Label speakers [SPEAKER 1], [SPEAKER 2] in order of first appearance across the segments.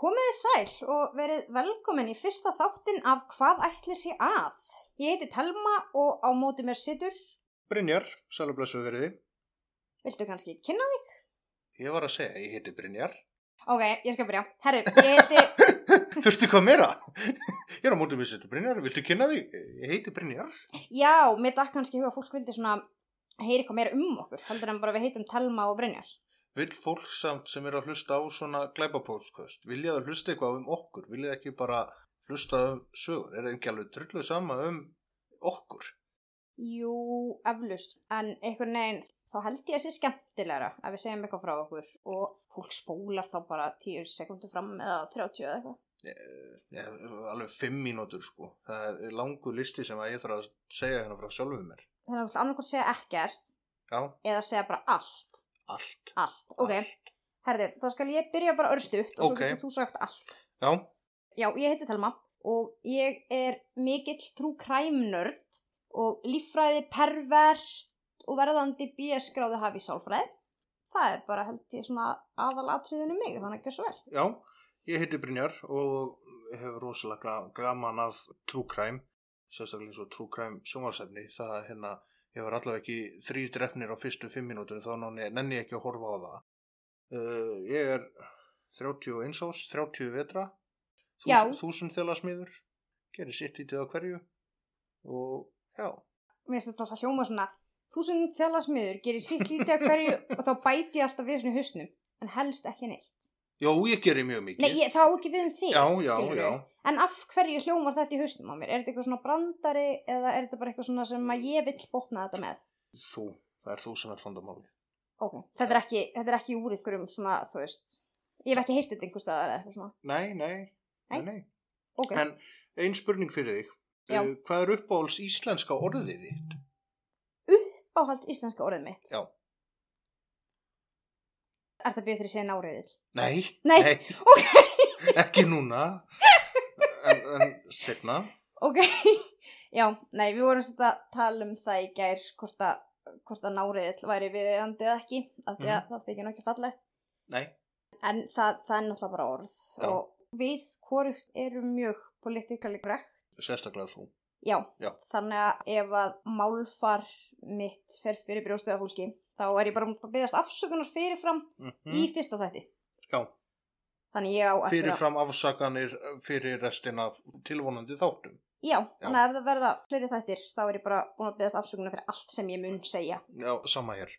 [SPEAKER 1] Komið þið sæl og verið velkomin í fyrsta þáttin af Hvað ætli sé að? Ég heiti Telma og á móti mér situr,
[SPEAKER 2] Brynjar, sælublessu veriði.
[SPEAKER 1] viltu kannski kynna þig?
[SPEAKER 2] Ég var að segja, ég heiti Brynjar.
[SPEAKER 1] Ok, ég skal byrja. Herru, ég heiti,
[SPEAKER 2] Þurftu hvað meira? Ég er á mótið mér setur Brynjar, viltu kynna þig? Ég heiti Brynjar.
[SPEAKER 1] já, mér dæk kannski í hug að fólk vildi svona heyri eitthvað meira um okkur, heldur en bara við heitum Telma og Brynjar.
[SPEAKER 2] Vill fólk samt sem er að hlusta á svona glæpapóskvöst, vilja það hlusta eitthvað um okkur, vilja það ekki bara hlusta um sögur, er það ekki alveg trulluð sama um okkur?
[SPEAKER 1] Jú, eflust, en einhvern veginn, þá held ég að sé skemmtilegra að við segjum eitthvað frá okkur og fólk spólar þá bara 10 sekundur fram eða 30 eða eitthvað.
[SPEAKER 2] Ég, alveg fimm mínútur sko, það er langu listi sem að ég þarf að segja hérna frá sjálfum mér.
[SPEAKER 1] Þannig að annarkvæmt segja ekkert
[SPEAKER 2] Já,
[SPEAKER 1] eða segja bara allt.
[SPEAKER 2] allt.
[SPEAKER 1] Allt, ok.
[SPEAKER 2] Allt.
[SPEAKER 1] Herður, þá skal ég byrja bara örstuðt og svo
[SPEAKER 2] Ókei.
[SPEAKER 1] getur þú sagt allt.
[SPEAKER 2] Já,
[SPEAKER 1] Já, ég heiti Telma og ég er mikill trú kræmnörd og líffræði pervert og verðandi BS gráðu hafi í sálfræði. Það er bara held ég svona aðalatriðinu mig, þannig ekki svo vel.
[SPEAKER 2] já, ég heiti Brynjar og hefur rosalega ga- gaman af true crime, sérstaklega eins og true crime sjónvarsefni, það er hérna, ég var allavega ekki þrý drefnir á fyrstu fimm mínútur, þá náni, nenni ég ekki að horfa á það. Uh, ég er 31 ás, 30 vetra,
[SPEAKER 1] Já.
[SPEAKER 2] þúsund þjólasmiður, gerir sitt í til á hverju og já,
[SPEAKER 1] Mér finnst þetta alltaf hljóma svona, þúsund þjálasmiður gerir sitt lítið að hverju og þá bæti ég alltaf við svona í hausnum, en helst ekki neitt.
[SPEAKER 2] já, ég gerir mjög mikið.
[SPEAKER 1] Nei, ég, þá ekki við um þig,
[SPEAKER 2] Já, já,
[SPEAKER 1] skilurðu.
[SPEAKER 2] já.
[SPEAKER 1] En af hverju hljómar þetta í hausnum á mér? Er þetta eitthvað svona brandari eða er þetta bara eitthvað svona sem að ég vill botna þetta með?
[SPEAKER 2] Þú, það er þú sem er fandamáli.
[SPEAKER 1] Ok, þetta er ekki, þetta er ekki úr einhverjum svona, þú veist, ég hef ekki heyrt þetta einhver staðar eða eitthvað svona.
[SPEAKER 2] Nei, nei, nei,
[SPEAKER 1] Nei.
[SPEAKER 2] nei.
[SPEAKER 1] Ok,
[SPEAKER 2] En ein spurning fyrir þig.
[SPEAKER 1] Já.
[SPEAKER 2] Uh, Hvað er uppáhalds íslenska orðið þitt?
[SPEAKER 1] báhalds íslenska orðið mitt.
[SPEAKER 2] Já.
[SPEAKER 1] Er það byrðið þegar ég segja náriðil?
[SPEAKER 2] Nei,
[SPEAKER 1] Nei,
[SPEAKER 2] ekki núna, en, en segna.
[SPEAKER 1] Ok, já, nei, við vorum svolítið að tala um það í gær hvort að, hvort að náriðil væri viðeigandi eða ekki, af því
[SPEAKER 2] Mhm.
[SPEAKER 1] að það þykir nokkið fallegt.
[SPEAKER 2] Nei,
[SPEAKER 1] en það, það er náttúrulega bara orð
[SPEAKER 2] Já.
[SPEAKER 1] og við hvorugt erum mjög politikali grekt
[SPEAKER 2] sérstaklega þú.
[SPEAKER 1] já,
[SPEAKER 2] Já.
[SPEAKER 1] þannig að ef að málfar mitt fer fyrir brjóstuða fólki þá er ég bara að byggast afsökunar fyrirfram
[SPEAKER 2] Mm
[SPEAKER 1] í fyrsta þætti
[SPEAKER 2] Já,
[SPEAKER 1] þannig ég á eftir að-
[SPEAKER 2] fyrirfram afsakanir fyrir restina af tilvonandi þáttum.
[SPEAKER 1] já, þannig að ef það verða fleiri þættir þá er ég bara búin að byggast afsökunar fyrir allt sem ég mun segja
[SPEAKER 2] Já, sama hér.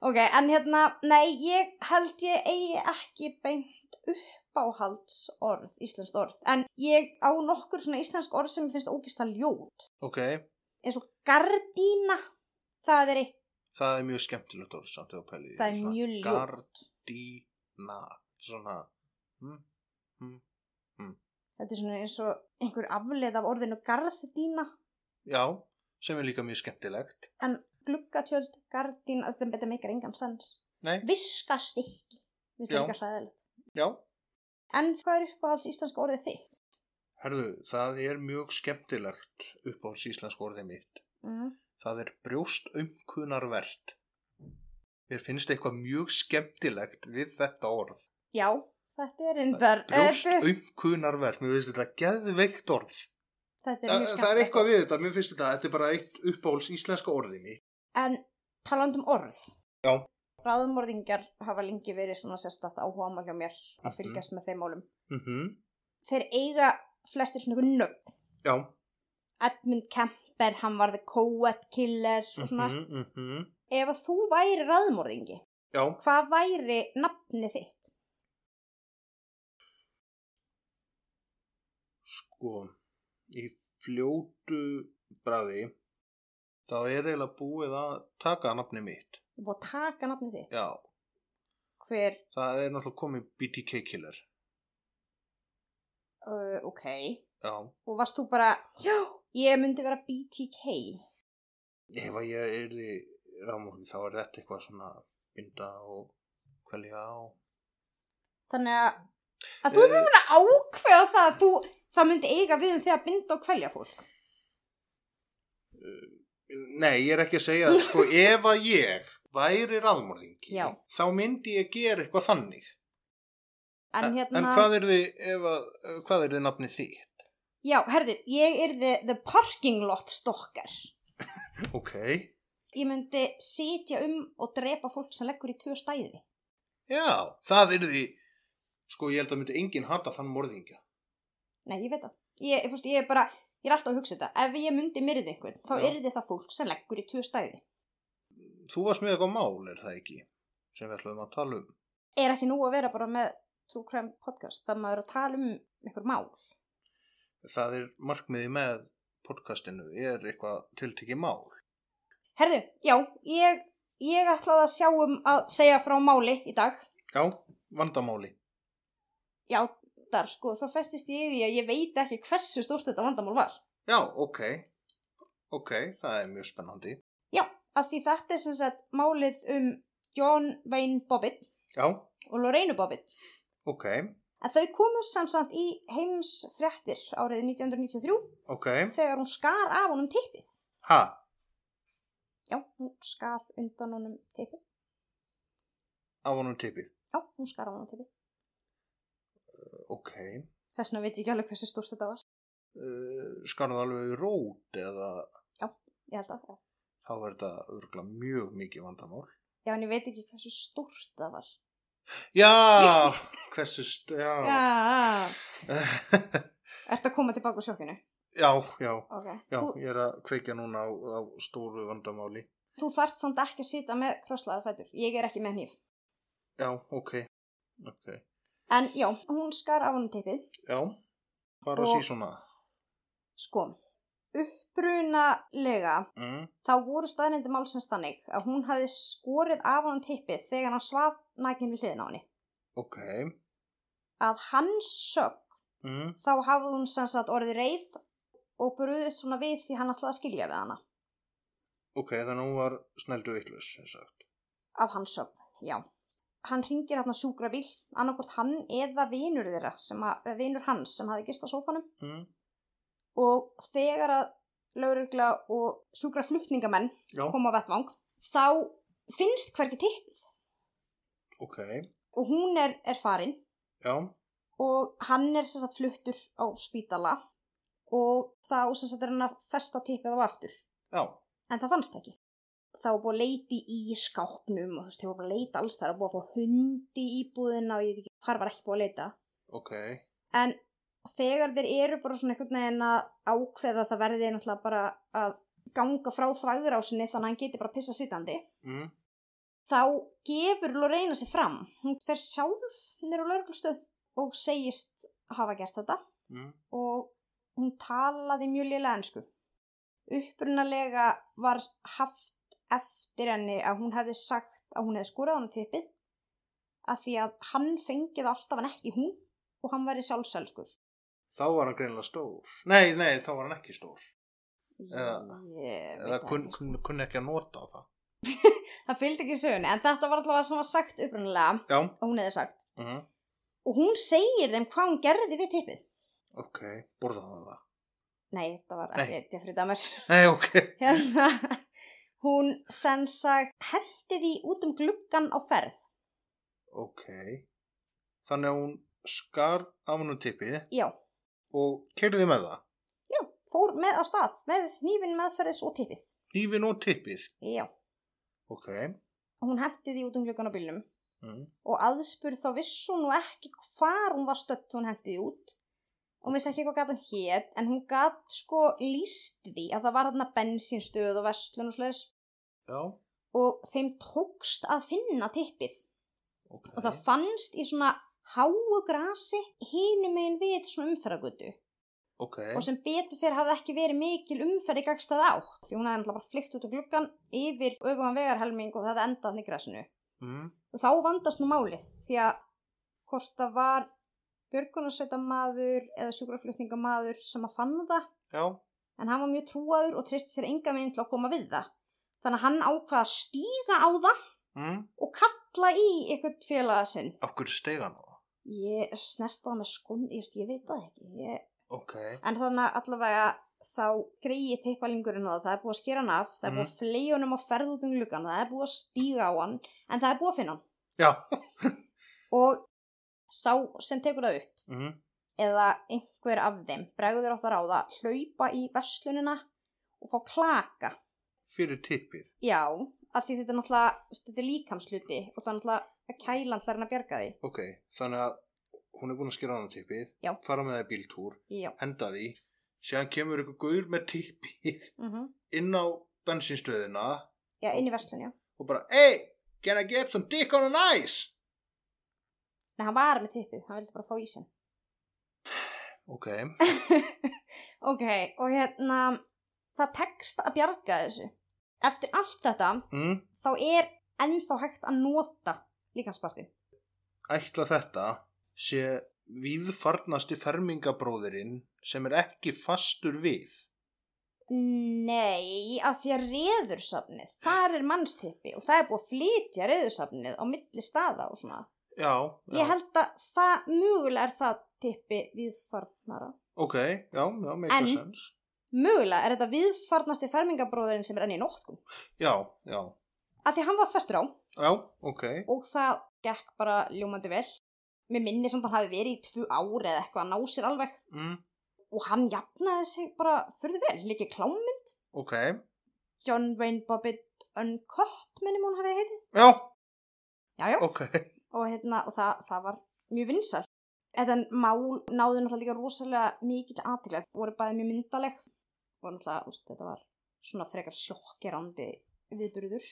[SPEAKER 1] ok, en hérna, nei, ég held ég eigi ekki beint uppáhaldsorð, íslenskt orð en ég á nokkur svona íslensk orð sem ég finnst ógist að ljót
[SPEAKER 2] Ok,
[SPEAKER 1] eins og gardína það er eitt,
[SPEAKER 2] það er mjög skemmtilegt orð samt eða pæliði.
[SPEAKER 1] það er mjög ljótt
[SPEAKER 2] Gardína, svona, mm, mm,
[SPEAKER 1] þetta er svona eins og einhver afleið af orðinu gardína
[SPEAKER 2] já, sem er líka mjög skemmtilegt.
[SPEAKER 1] en gluggatjöld, gardína þetta þetta meikar engan sens
[SPEAKER 2] Nei.
[SPEAKER 1] viskastykki, finnst
[SPEAKER 2] Já.
[SPEAKER 1] það engar hræðilegt
[SPEAKER 2] Já,
[SPEAKER 1] en hvað er uppáhalds íslenska orðið þitt?
[SPEAKER 2] Herðu, það er mjög skemmtilegt upp á síslensk orðið mitt.
[SPEAKER 1] Mm.
[SPEAKER 2] Það er brjóst umkunarvert. Mér finnst eitthvað mjög skemmtilegt við þetta orð.
[SPEAKER 1] já, þetta er reyndar
[SPEAKER 2] Brjóst
[SPEAKER 1] þetta,
[SPEAKER 2] umkunarvert, mér finnst þetta geðveikt orð.
[SPEAKER 1] þetta er
[SPEAKER 2] Það,
[SPEAKER 1] mjög
[SPEAKER 2] það er
[SPEAKER 1] skemmt
[SPEAKER 2] eitthvað við þetta, mér finnst þetta, þetta er bara eitt uppáhalds íslenska orðið mitt.
[SPEAKER 1] en taland um orð
[SPEAKER 2] Já.
[SPEAKER 1] ráðumorðingjar hafa lengi verið svona sérstætt áhuga hjá mér
[SPEAKER 2] Mhm.
[SPEAKER 1] að fylgjast með þeim málum
[SPEAKER 2] Mm
[SPEAKER 1] þeir eiga flestir svona einhver nöfn
[SPEAKER 2] Já.
[SPEAKER 1] Edmund Kemper, hann var the co-ed killer og svona.
[SPEAKER 2] Mm -hmm.
[SPEAKER 1] Ef að þú væri raðmörðingi,
[SPEAKER 2] Já,
[SPEAKER 1] hvað væri nafnið þitt?
[SPEAKER 2] sko, í fljótu bræði, þá er eiginlega búið að taka nafni mitt.
[SPEAKER 1] Þú búið að taka nafnið þitt.
[SPEAKER 2] Já,
[SPEAKER 1] hver,
[SPEAKER 2] Það er náttúrulega komið BTK killer.
[SPEAKER 1] uh, ok,
[SPEAKER 2] Já,
[SPEAKER 1] og varst þú bara, já, ég myndi vera BTK.
[SPEAKER 2] ef að ég er í rámorgi þá er þetta eitthvað svona binda og kvelja og...
[SPEAKER 1] Þannig að, að þú
[SPEAKER 2] Eh.
[SPEAKER 1] erum uh, að ákveða það að þú, það myndi eiga við um því að binda og kvelja fólk.
[SPEAKER 2] Nei, ég er ekki að segja, sko, ef að ég væri rámorðingi,
[SPEAKER 1] Já.
[SPEAKER 2] þá myndi ég gera eitthvað þannig.
[SPEAKER 1] En, hérna,
[SPEAKER 2] en hvað er þið, ef að, hvað er þið nafnið því?
[SPEAKER 1] já, herði, ég er the, the parking lot stalker.
[SPEAKER 2] Ok,
[SPEAKER 1] Ég myndi sitja um og drepa fólk sem leggur í tvö stæði.
[SPEAKER 2] já, það er því, sko, ég held að myndi enginn hata þann morðingja.
[SPEAKER 1] Nei, ég veit það. Ég, ég, fórst, ég er bara, ég er alltaf að hugsa þetta. Ef ég myndi myrðið einhvern, þá
[SPEAKER 2] Já.
[SPEAKER 1] yrði það fólk sem leggur í tvö stæði.
[SPEAKER 2] Þú varst með eitthvað mál, er það ekki, sem við ætlum að tala um.
[SPEAKER 1] Er ekki nú að vera bara með True Crime Podcast, það maður er að tala um einhver mál.
[SPEAKER 2] Það er markmiði með podcastinu, er eitthvað tiltekið mál.
[SPEAKER 1] Herðu, já, ég, ég ætlaði að sjá um að segja frá máli í dag.
[SPEAKER 2] Já, vandamáli.
[SPEAKER 1] Já, þar sko, þá festist ég í því að ég veit ekki hversu stórt þetta vandamál var.
[SPEAKER 2] Já, ok, ok, það er mjög spennandi.
[SPEAKER 1] Já, af því þetta er sem sagt málið um John Wayne Bobbitt
[SPEAKER 2] Já,
[SPEAKER 1] og Lorraine Bobbitt.
[SPEAKER 2] ok,
[SPEAKER 1] En þau komu samsamt í heimsfréttir árið 1993
[SPEAKER 2] ok,
[SPEAKER 1] þegar hún skar af honum tippið.
[SPEAKER 2] ha,
[SPEAKER 1] Já, hún skar undan honum tippið.
[SPEAKER 2] á honum typið,
[SPEAKER 1] Já, hún skar af honum tippið.
[SPEAKER 2] ok.
[SPEAKER 1] Þess vegna veit ég ekki alveg hversu stórt þetta var.
[SPEAKER 2] Uh, skarðu alveg í rót eða
[SPEAKER 1] Ég held að, já.
[SPEAKER 2] þá er þetta örgla mjög mikið vandamál.
[SPEAKER 1] Já, en ég veit ekki hversu stórt það var.
[SPEAKER 2] Já, hversu, st- já,
[SPEAKER 1] Já,
[SPEAKER 2] já,
[SPEAKER 1] Ertu að koma tilbaka úr sjokkinu?
[SPEAKER 2] já, já,
[SPEAKER 1] Ok. Þú,
[SPEAKER 2] ég er að kveikja núna á, á stóru vandamáli.
[SPEAKER 1] þú þart samt ekki að sita með krosslaðar fætur. Ég er ekki með hníf.
[SPEAKER 2] Já, ok, ok,
[SPEAKER 1] En já, hún skar af honum teipið.
[SPEAKER 2] já, bara
[SPEAKER 1] Og-
[SPEAKER 2] sí svona.
[SPEAKER 1] Sko, upprunalega
[SPEAKER 2] Mm.
[SPEAKER 1] þá voru staðnindu málsins þannig að hún hafi skorið af honum teipið þegar hann svaf nægin við hliðin á henni.
[SPEAKER 2] Ok,
[SPEAKER 1] Að hans sög
[SPEAKER 2] mm.
[SPEAKER 1] þá hafði hún sem sagt orðið reið og brúðist svona við því hann ætlaði að skilja við hana.
[SPEAKER 2] ok, þannig að hún var snældu vittlus, sem sagt.
[SPEAKER 1] Af hans sög, já. Hann hérna ringir hann að sjúkra bíl, annarkvort hann eða vinur þeirra, sem að, eh, vinur hans sem hafi gist á sófanum.
[SPEAKER 2] Mm.
[SPEAKER 1] og þegar að laurugla og sjúkra flutningamenn
[SPEAKER 2] Já,
[SPEAKER 1] koma á vettvang þá finnst hvergi tippið
[SPEAKER 2] ok,
[SPEAKER 1] og hún er, er farin
[SPEAKER 2] já,
[SPEAKER 1] og hann er sem sagt fluttur á spítala og þá sem sagt er hann að festa tippið á aftur
[SPEAKER 2] já,
[SPEAKER 1] en það fannst ekki þá var búið að leiti í skápnum og þú veist, það var búið að leita alls þar og búið að fá hundi í búðina og ég veit ekki hvar var ekki búið að leita
[SPEAKER 2] ok,
[SPEAKER 1] en þegar þeir eru bara svona einhvern veginn að ákveða það verði náttúrulega bara að ganga frá þvægrásinni þannig að hann geti bara pissa sittandi
[SPEAKER 2] mm.
[SPEAKER 1] þá gefur Lorena sér fram hún fer sjálf nýr á lauruglustöð og segist hafa gert þetta
[SPEAKER 2] Mm.
[SPEAKER 1] og hún talaði mjög lélega ensku upprunalega var haft eftir henni að hún hefði sagt að hún hefði skorað hann tippið að því að hann fengið alltaf en ekki hún og hann væri sjálfselskur
[SPEAKER 2] þá var hann greinilega stór. Nei, nei, þá var hann ekki stór. Eða-
[SPEAKER 1] Ég veit
[SPEAKER 2] Eða
[SPEAKER 1] það
[SPEAKER 2] kunn,
[SPEAKER 1] ekki.
[SPEAKER 2] kunn, kunn ekki að nota á það.
[SPEAKER 1] það fylgdi ekki sögun en þetta var allavega sem var sagt upprunnilega
[SPEAKER 2] Já,
[SPEAKER 1] og hún hefði sagt
[SPEAKER 2] mm.
[SPEAKER 1] og hún segir þeim hvað hún gerði við tippið
[SPEAKER 2] ok, borðaði hann það.
[SPEAKER 1] nei, þetta var ekki Jeffrey Dahmer
[SPEAKER 2] Nei, ok,
[SPEAKER 1] hérna hún sem sagt hendi því út um gluggan á ferð
[SPEAKER 2] ok. Þannig að hún skar af hann um tippið
[SPEAKER 1] já,
[SPEAKER 2] og kerði með það.
[SPEAKER 1] já, fór með á stað með hnífin meðferðis og tippið
[SPEAKER 2] Hífin og tippið.
[SPEAKER 1] já,
[SPEAKER 2] Ok.
[SPEAKER 1] hún hendi því út um gluggan á bílnum
[SPEAKER 2] Mm.
[SPEAKER 1] og aðspurð þá viss hún nú ekki hvar hún var stödd þegar hún hendi því út hún vissi ekki hvað gat hann hér en hún gat sko líst því að það var hann að bensínstöð og verslun og slags
[SPEAKER 2] Já,
[SPEAKER 1] og þeim tókst að finna tippið
[SPEAKER 2] ok.
[SPEAKER 1] og það fannst í svona háu grasi hinum megin við svona umferðagötu
[SPEAKER 2] Ok,
[SPEAKER 1] og sem betur fyrir hafði ekki verið mikil umferði gagstað átt því hún hafði náttúrulega bara flykt út á gluggan yfir öfugan vegarhelming og það hafði endað hann í grasinu
[SPEAKER 2] mm,
[SPEAKER 1] og þá vandast nú málið því að hvort það var björgunarsveitamaður eða sjúkraflutningamaður sem að fann það
[SPEAKER 2] já,
[SPEAKER 1] en hann var mjög trúaður og treysti sér enga meginn til að koma við það þannig að hann ákvað að stíga á það
[SPEAKER 2] mm,
[SPEAKER 1] og kalla í eitthvað félaga sinn
[SPEAKER 2] okkur stegan á það.
[SPEAKER 1] ég snerta það með skon ég, veist, ég veit það ekki ég...
[SPEAKER 2] ok,
[SPEAKER 1] en þannig að allavega þá greiði teipalingurinn á það það er búið að skera hann af það er
[SPEAKER 2] Mhm.
[SPEAKER 1] búið að fleia honum að ferða út um gluggan það er búið að stíga á hann en það er búið að finna hann
[SPEAKER 2] já
[SPEAKER 1] og sá sem tekur það upp
[SPEAKER 2] mm,
[SPEAKER 1] eða einhver af þeim bregður á það ráða hlaupa í verslunina og fá klaka
[SPEAKER 2] fyrir tippið
[SPEAKER 1] já, af því þetta er náttúrulega þú veist, þetta er líkamsluti og það er náttúrulega að kælan þær hann að bjarga því
[SPEAKER 2] ok, þannig að hún er búin að skera á hana tippið
[SPEAKER 1] Já.
[SPEAKER 2] fara með það í bíltúr,
[SPEAKER 1] já,
[SPEAKER 2] henda því síðan kemur ykkur gaur með tippið
[SPEAKER 1] mm
[SPEAKER 2] inn á bensinstöðina
[SPEAKER 1] já inn í verslun, já
[SPEAKER 2] og bara, hey, can I get some dick on an ice
[SPEAKER 1] Nei, hann var með tippið, hann vildi bara fá ísinn
[SPEAKER 2] ok,
[SPEAKER 1] ok, og hérna það tekst að bjarga þessu eftir allt þetta
[SPEAKER 2] mm,
[SPEAKER 1] þá er ennþá hægt að nota líkanspartin
[SPEAKER 2] ætla þetta sé viðfarnasti fermingabróðirinn sem er ekki fastur við
[SPEAKER 1] Nei, af því að reðursafnið, þar er mannstippi og það er búið að flytja reðursafnið á milli staða og svona.
[SPEAKER 2] já, já.
[SPEAKER 1] Ég held að það mögulega er það tippi viðfarnara.
[SPEAKER 2] ok, já, já, make
[SPEAKER 1] En-
[SPEAKER 2] a sense
[SPEAKER 1] Mögulega er þetta viðfarnasti fermingabróðurinn sem er enn í nótkum.
[SPEAKER 2] já, já,
[SPEAKER 1] Af því að hann var festur á
[SPEAKER 2] já, ok
[SPEAKER 1] og það gekk bara ljómandi vel. Mér minni samt að hann hafi verið í tvu ári eða eitthvað að ná sér alveg
[SPEAKER 2] mm,
[SPEAKER 1] og hann jafnaði sig bara fyrir vel, líki klámi.
[SPEAKER 2] ok,
[SPEAKER 1] John Wayne Bobbitt Uncut minnum hún hafi heitið.
[SPEAKER 2] já,
[SPEAKER 1] Já, já.
[SPEAKER 2] ok
[SPEAKER 1] og, hérna, og það, það var mjög vinsalt. Þetta mál náði náttúrulega líka rosalega mikil aðtilega, voru bæði mjög myndaleg og náttúrulega, úst, þetta var svona frekar sjokkirandi viðburður.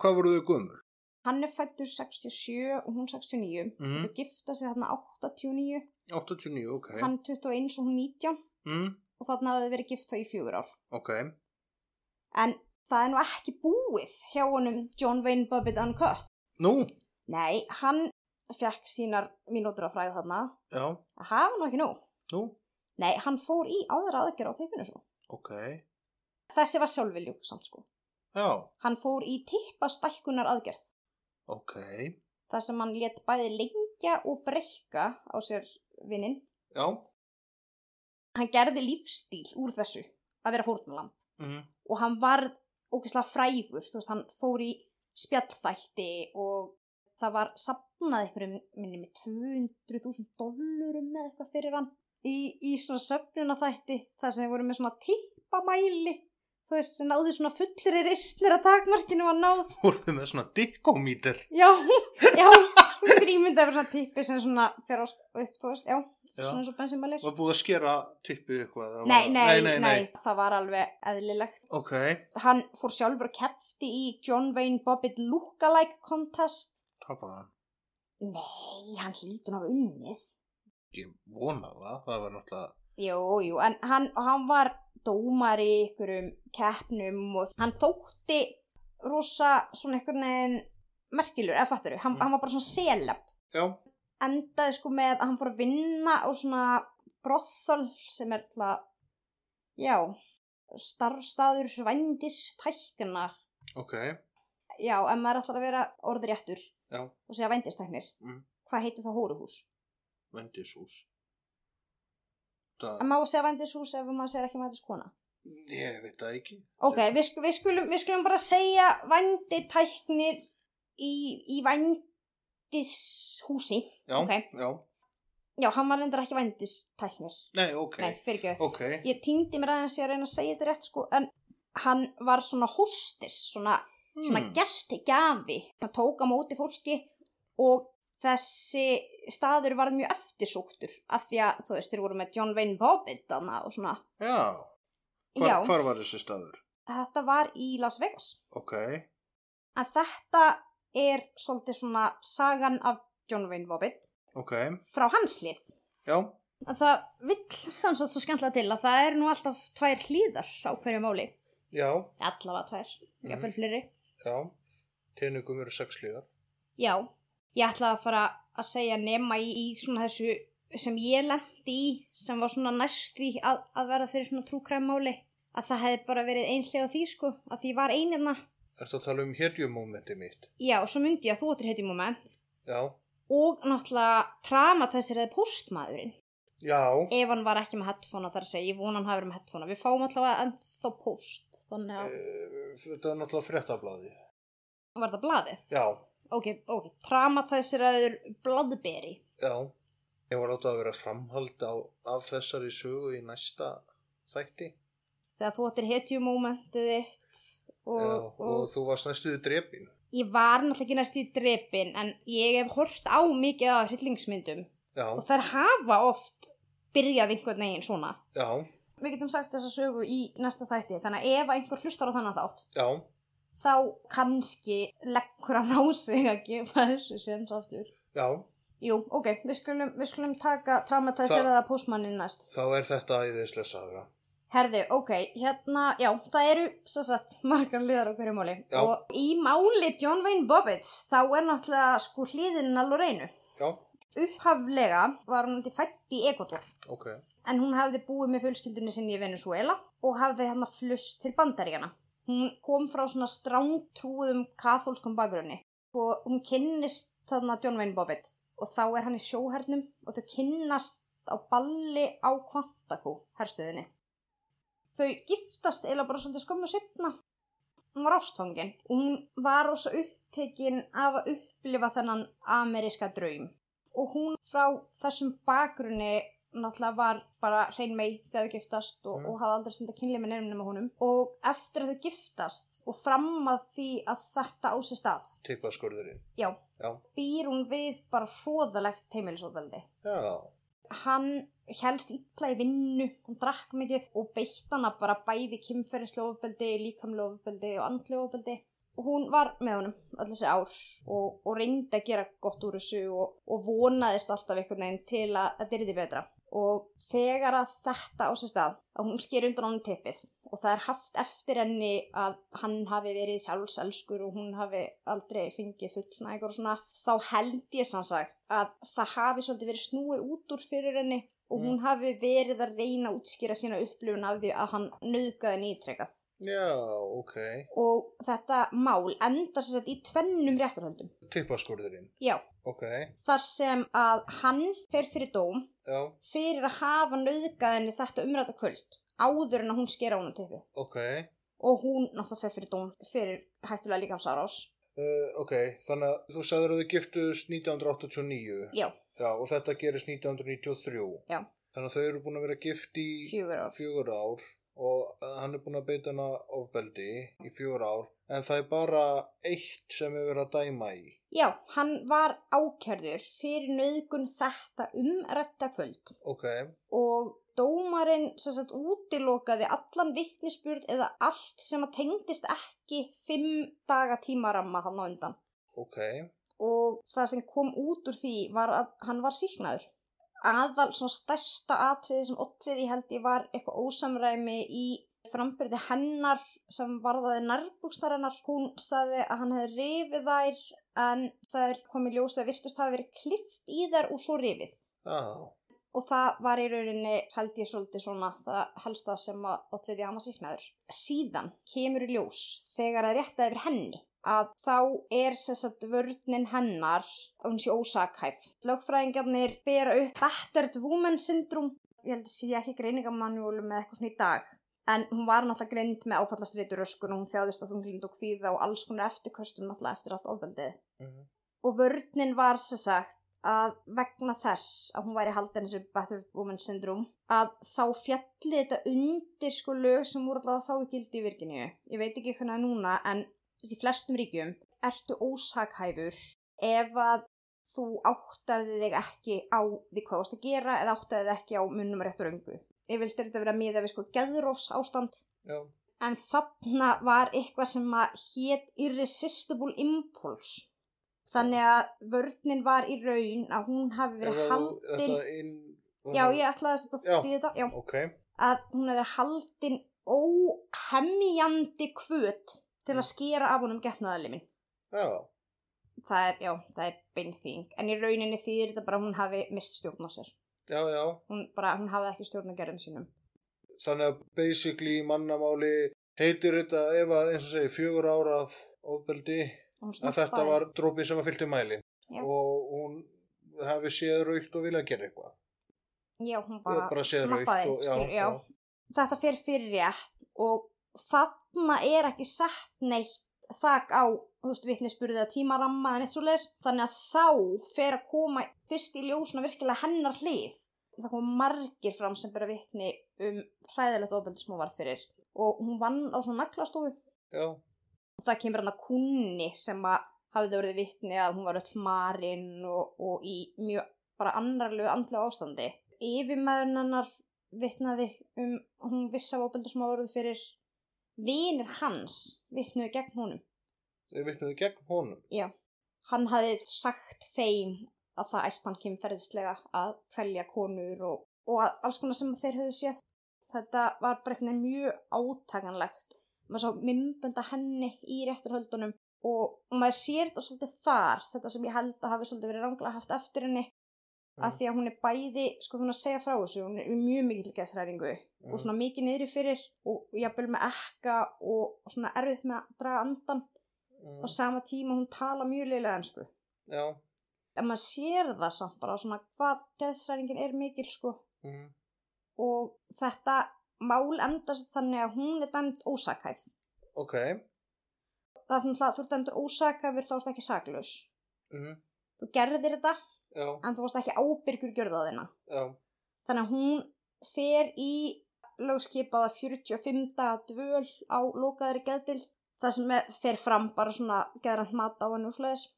[SPEAKER 2] hvað voru þau gömur?
[SPEAKER 1] Hann er fættur 67 og hún 69,
[SPEAKER 2] Mm,
[SPEAKER 1] þau gifta sig þarna 89,
[SPEAKER 2] 89, ok
[SPEAKER 1] hann 21 og hún 19
[SPEAKER 2] mm,
[SPEAKER 1] og þarna hafði verið gift þá í fjögur ár.
[SPEAKER 2] ok,
[SPEAKER 1] En það er nú ekki búið hjá honum John Wayne Bobbitt Uncut.
[SPEAKER 2] nú,
[SPEAKER 1] Nei, hann fekk sínar mínútur af fræð þarna,
[SPEAKER 2] já,
[SPEAKER 1] að hafa nú ekki nóg.
[SPEAKER 2] nú
[SPEAKER 1] Nei, hann fór í aðra aðgerð á teipinu svo.
[SPEAKER 2] ok,
[SPEAKER 1] Þessi var sjálfviljúk samt sko.
[SPEAKER 2] já,
[SPEAKER 1] Hann fór í tippastækkunar aðgerð.
[SPEAKER 2] ok
[SPEAKER 1] þar sem hann let bæði lengja og breyka á sér vinninn.
[SPEAKER 2] já,
[SPEAKER 1] Hann gerði lífstíl úr þessu að vera fórnulam.
[SPEAKER 2] mm,
[SPEAKER 1] Og hann var ógeðslega frægur. Þú veist, hann fór í spjallþætti og það var sapnað einhverjum minni með 200.000 dollurum eða eitthvað fyrir hann. Í, í svona söfnunarþætti þar sem þeir voru með svona tippamæli. Þú veist, sem náðu svona fullri ristnir að takmarkinu var náð.
[SPEAKER 2] voruðu með svona dickómíter
[SPEAKER 1] Já, já, grímynda er bara svona tippi sem svona fer á sk- upp, þú veist, já,
[SPEAKER 2] Já.
[SPEAKER 1] svona eins og bensinmælir.
[SPEAKER 2] var búið að skera tippið eitthvað eða
[SPEAKER 1] Nei,
[SPEAKER 2] var-
[SPEAKER 1] nei, nei, það var alveg eðlilegt.
[SPEAKER 2] ok,
[SPEAKER 1] Hann fór sjálfur og kefti í John Wayne Bobbitt Lookalike Contest.
[SPEAKER 2] tapaði hann
[SPEAKER 1] Nei, hann hlýtur á unnið.
[SPEAKER 2] ég vona það, það var náttúrulega
[SPEAKER 1] Jú, jú, en hann, hann var dómar í ykkurum keppnum og hann þótti rosa svona einhvern veginn merkilur, eða fattur hann,
[SPEAKER 2] Mm.
[SPEAKER 1] hann var bara svona selab.
[SPEAKER 2] já,
[SPEAKER 1] endaði sko með að hann fór að vinna á svona brothol sem er til að, já, starfstaður vændis tækna.
[SPEAKER 2] ok,
[SPEAKER 1] Já, en maður ætlar að vera orðréttur
[SPEAKER 2] já,
[SPEAKER 1] og segja vændistæknir.
[SPEAKER 2] Mm.
[SPEAKER 1] Hvað heitir það hóruhús?
[SPEAKER 2] vendishús
[SPEAKER 1] En
[SPEAKER 2] það,
[SPEAKER 1] má segja vændishús ef maður segir ekki vændiskona.
[SPEAKER 2] ég veit það ekki
[SPEAKER 1] Ok, við, sk við, skulum, við skulum bara segja vænditæknir í, í vændishúsi.
[SPEAKER 2] já,
[SPEAKER 1] Ok.
[SPEAKER 2] já,
[SPEAKER 1] Já, hann var reyndar ekki vændistæknir.
[SPEAKER 2] nei, ok
[SPEAKER 1] Nei, fyrir ekki.
[SPEAKER 2] ok,
[SPEAKER 1] ég týndi mér aðeins ég að reyna að segja þetta rétt sko en hann var svona hostis svona, svona
[SPEAKER 2] Hmm.
[SPEAKER 1] gesti gafi hann tók á móti fólki og þessi staður var mjög eftirsóktur af því að þú veist þeir voru með John Wayne Bobbitt þarna og svona
[SPEAKER 2] já, hvar,
[SPEAKER 1] já,
[SPEAKER 2] hvar var þessi staður
[SPEAKER 1] þetta var í Las Vegas
[SPEAKER 2] ok,
[SPEAKER 1] en þetta er svolítið svona sagan af John Wayne Bobbitt
[SPEAKER 2] ok,
[SPEAKER 1] frá hans hlið
[SPEAKER 2] já
[SPEAKER 1] en það vill samsagt svo skemmtla til að það er nú alltaf tvær hlýðar á hverju máli
[SPEAKER 2] já,
[SPEAKER 1] allavega tvær,
[SPEAKER 2] Mhm.
[SPEAKER 1] jafnvel fleiri
[SPEAKER 2] já teningum eru sex hlýðar
[SPEAKER 1] Já, ég ætla að fara að segja nema í, í svona þessu sem ég lendi í, sem var svona næst í að, að vera fyrir svona trúkræmmáli, að það hefði bara verið einhlega því sko, að því ég var einirna.
[SPEAKER 2] Ertu að tala um hérjumómenti mitt?
[SPEAKER 1] Já, og svo myndi ég að þú áttir heiti moment
[SPEAKER 2] Já,
[SPEAKER 1] og náttúrulega traumatæsir eða postmaðurinn
[SPEAKER 2] já,
[SPEAKER 1] ef hann var ekki með headphonea þar að segja, ég vona hann hafi verið með headphonea, við fáum allavega ennþá post, þannig að
[SPEAKER 2] Eh, þetta er náttúrulega fréttablaði. Eh.
[SPEAKER 1] var það blaðið.
[SPEAKER 2] Já,
[SPEAKER 1] Ok, ok, traumatæsir eða bladberi.
[SPEAKER 2] já, ég var átt að vera framhald á, af þessari sögu í næsta þætti.
[SPEAKER 1] þegar þú ættir hetjumomentið þitt og,
[SPEAKER 2] já,
[SPEAKER 1] og,
[SPEAKER 2] og þú varst næstuði drefin.
[SPEAKER 1] ég var náttúrulega ekki næst í drepin en ég hef hort á mikið á hryllingsmyndum
[SPEAKER 2] Já,
[SPEAKER 1] og þær hafa oft byrjað einhvern veginn svona
[SPEAKER 2] já,
[SPEAKER 1] við getum sagt þessa sögu í næsta þætti þannig að ef einhver hlustar á þannig þátt
[SPEAKER 2] já,
[SPEAKER 1] þá kannski leggur hann á sig að gefa þessu séns aftur
[SPEAKER 2] já,
[SPEAKER 1] Jú, ok, við skulum, við skulum taka traumatæseraða postmannin næst
[SPEAKER 2] þá er þetta æðislega saga.
[SPEAKER 1] Herðu, ok, hérna, já, það eru, svo sagt, margar liðar á hverju máli.
[SPEAKER 2] Já.
[SPEAKER 1] Og í máli John Wayne Bobbitt, þá er náttúrulega sko hliðin að Lorraine.
[SPEAKER 2] Já,
[SPEAKER 1] Upphaflega var hún til fætt í Ecuador,
[SPEAKER 2] ok,
[SPEAKER 1] en hún hafði búið með fjölskyldunni sinni í Venezuela og hafði hérna flust til bandaríkana. Hún kom frá svona strángtrúðum kathólskum bakgrunni og hún kynnist þarna John Wayne Bobbitt og þá er hann í sjóhernum og þau kynnast á balli á Quantaco, herstöðinni þau giftast eiginlega bara svolítið skömmu setna. Hún var ástfangin og hún var rosa upptekin af að upplifa þennan ameríska draum. Og hún frá þessum bakgrunni náttúrulega var bara hrein mei þegar þau giftast og,
[SPEAKER 2] Mm.
[SPEAKER 1] og hafa aldrei stundið kynlega með nefnum nema honum. Og eftir að þau giftast og fram að því að þetta á sér stað,
[SPEAKER 2] tippaskurðurinn.
[SPEAKER 1] já,
[SPEAKER 2] Já,
[SPEAKER 1] býr hún við bara hróðalegt heimilisofveldi
[SPEAKER 2] já,
[SPEAKER 1] hann helst illa í vinnu, hann drakk mikið og beitt hana bara bæði kynferðislofabeldi, líkamlofabeldi og andlofabeldi. Og hún var með honum öll þessi ár og, og reyndi að gera gott úr þessu og, og vonaðist alltaf einhvern veginn til að þetta er betra. Og þegar að þetta á sér stað, að hún sker undan honum tippið og það er haft eftir henni að hann hafi verið sjálfselskur og hún hafi aldrei fengið fullnæg og svona, þá held ég sannsagt að það hafi svolítið verið snúið út úr fyrir henni og hún hafi verið að reyna að útskýra sína upplifun af því að hann nöðgaði henni ítrekað.
[SPEAKER 2] já, ok,
[SPEAKER 1] Og þetta mál endar sér sett í tvennum réttarhöldum.
[SPEAKER 2] tippaskurðurinn.
[SPEAKER 1] Já,
[SPEAKER 2] Ok,
[SPEAKER 1] þar sem að hann fer fyrir dóm
[SPEAKER 2] já,
[SPEAKER 1] fyrir að hafa nöðgað henni þetta umræta kvöld áður en að hún sker á henni tippið.
[SPEAKER 2] ok,
[SPEAKER 1] og hún náttúrulega fer fyrir dóm fyrir hættulega líkamsárás
[SPEAKER 2] uh, ok, þannig að þú sagður að þau giftust 1989.
[SPEAKER 1] já,
[SPEAKER 2] Já, og þetta gerist 1993.
[SPEAKER 1] Já.
[SPEAKER 2] Þannig að þau eru búin að vera gift í
[SPEAKER 1] fjögur ár
[SPEAKER 2] fjögur ár og eh, hann er búin að beita hana ofbeldi í fjögur ár en það er bara eitt sem er verið að dæma í.
[SPEAKER 1] já, hann var ákjörður fyrir nöðgun þetta umrætta kvöld
[SPEAKER 2] Ok,
[SPEAKER 1] og dómarinn sem sagt útilokaði allan vittnisspjörð eða allt sem að tengdist ekki fimm daga tímaramma hann á undan
[SPEAKER 2] ok,
[SPEAKER 1] og það sem kom út úr því var að hann var síknaður. Aðal svona stærsta atriði sem ollið ég held ég var eitthvað ósamræmi í frambyrði hennar sem varðaði nærbúksnar hennar. Hún saði að hann hefði rifið þær en þær kom í ljósið að virtust hafi verið klift í þær og svo rifið.
[SPEAKER 2] já,
[SPEAKER 1] Og það var í rauninni, held ég svolítið svona, það helsta sem að oddviði hama síknaður. Síðan kemur í ljós þegar það er réttað yfir henni að þá er þess að vörninn hennar, að hún sé ósakhæf. Lögfræðingarnir bera upp battered woman syndrome, ég held að sé ekki greiningamanjúlu með eitthvað svona í dag. En hún var náttúrulega greind með áfallastritur öskun og hún þjáðist að þunglind og kvíða og alls konar eftirköstum náttúrulega eftir allt ofbeldið
[SPEAKER 2] mhm,
[SPEAKER 1] og vörninn var sem sagt að vegna þess að hún væri haldin þessu Better Woman Syndrome að þá fjalli þetta undir sko lög sem voru allavega þá í gildi í virkinu ég veit ekki hvernig það er núna en í flestum ríkjum ertu ósakhæfur ef að þú áttaði þig ekki á því hvað þú varst að gera eða áttaði þig ekki á munum rétt og röngu ég vildi þetta vera miða við sko geðrófs ástand
[SPEAKER 2] já,
[SPEAKER 1] en þarna var eitthvað sem að hét Irresistible Impulse þannig að vörninn var í raun að hún hafi
[SPEAKER 2] Ef
[SPEAKER 1] verið
[SPEAKER 2] að þú-
[SPEAKER 1] haldin
[SPEAKER 2] þetta inn,
[SPEAKER 1] já ég ætlaði að setja
[SPEAKER 2] Já.
[SPEAKER 1] því þetta já,
[SPEAKER 2] Ok,
[SPEAKER 1] að hún hafi verið haldin
[SPEAKER 2] Mm.
[SPEAKER 1] óhemjandi kvöt til að skera af honum getnaðalimin
[SPEAKER 2] já,
[SPEAKER 1] það er, já, það er beinþýðing en í rauninni þýðir þetta bara að hún hafi mist stjórn á sér
[SPEAKER 2] Já, já.
[SPEAKER 1] hún, bara, hún hafði ekki stjórn á gerðum sínum
[SPEAKER 2] Þannig að basically í mannamáli heitir þetta ef að eins og segir fjögur ára af ofbeldi
[SPEAKER 1] Og hún
[SPEAKER 2] að þetta
[SPEAKER 1] snoppaði-
[SPEAKER 2] var drópin sem var fyllt í mælin
[SPEAKER 1] Já.
[SPEAKER 2] og hún hafi séð raukt og vilja gera eitthvað.
[SPEAKER 1] já, hún
[SPEAKER 2] Eða
[SPEAKER 1] bara,
[SPEAKER 2] bara séð raukt
[SPEAKER 1] snappaði
[SPEAKER 2] og
[SPEAKER 1] skilur, já. þetta fer fyrir rétt og þarna er ekki sett neitt þak á þú veist, vitnisburðið að tímaramma en eitt svo leis þannig að þá fer að koma fyrst í ljósuna virkilega hennar hlið það kom margir fram sem byrja vitni um hræðilegt ofbeldi sem hún var fyrir og hún vann á svona naglastofu
[SPEAKER 2] já,
[SPEAKER 1] og það kemur hann að kunni sem að hafði verið vitni að hún var öll marinn og, og í mjög bara annarlegu andlega ástandi. Yfirmaðurinn hennar vitnaði um að hún vissi af ábeldur sem hafa voruð fyrir vinir hans vitnuðu gegn honum.
[SPEAKER 2] þau vitnuðu gegn honum.
[SPEAKER 1] Hann hafði sagt þeim að það æst hann kemferðislega að felja konur og, og að- alls konar sem þeir höfðu séð. Þetta var bara eitthvað mjög átakanlegt. Maður sá myndbönda henni í réttarhöldunum og maður sér þetta svolítið þar, þetta sem ég held að hafi svolítið verið ranglega haft eftir henni
[SPEAKER 2] Mm.
[SPEAKER 1] að því að hún er bæði, sko hún er að segja frá þessu, hún er í mjög mikil geðsræringu
[SPEAKER 2] Mm.
[SPEAKER 1] og svona mikið niðri fyrir og jafnvel með ekka og, og svona erfið með að draga andan
[SPEAKER 2] Mm,
[SPEAKER 1] á sama tíma hún tala mjög leilega ennsku.
[SPEAKER 2] Já,
[SPEAKER 1] En maður sér það samt bara svona hvað geðsræringin er mikil sko
[SPEAKER 2] mm,
[SPEAKER 1] og þetta mál endast þannig að hún er dæmt ósakhæf.
[SPEAKER 2] ok.
[SPEAKER 1] Það er þannig að þú ert dæmt ósakhæfur þá ert ekki saklaus.
[SPEAKER 2] Mm,
[SPEAKER 1] Þú gerðir þetta
[SPEAKER 2] já,
[SPEAKER 1] en þú varst ekki ábyrgur gjörðaðina.
[SPEAKER 2] já,
[SPEAKER 1] Þannig að hún fer í lögskipaða 45 daga dvöl á lokaðari geðdild þar sem er- fer fram bara svona geðrand mat á hennu slæðis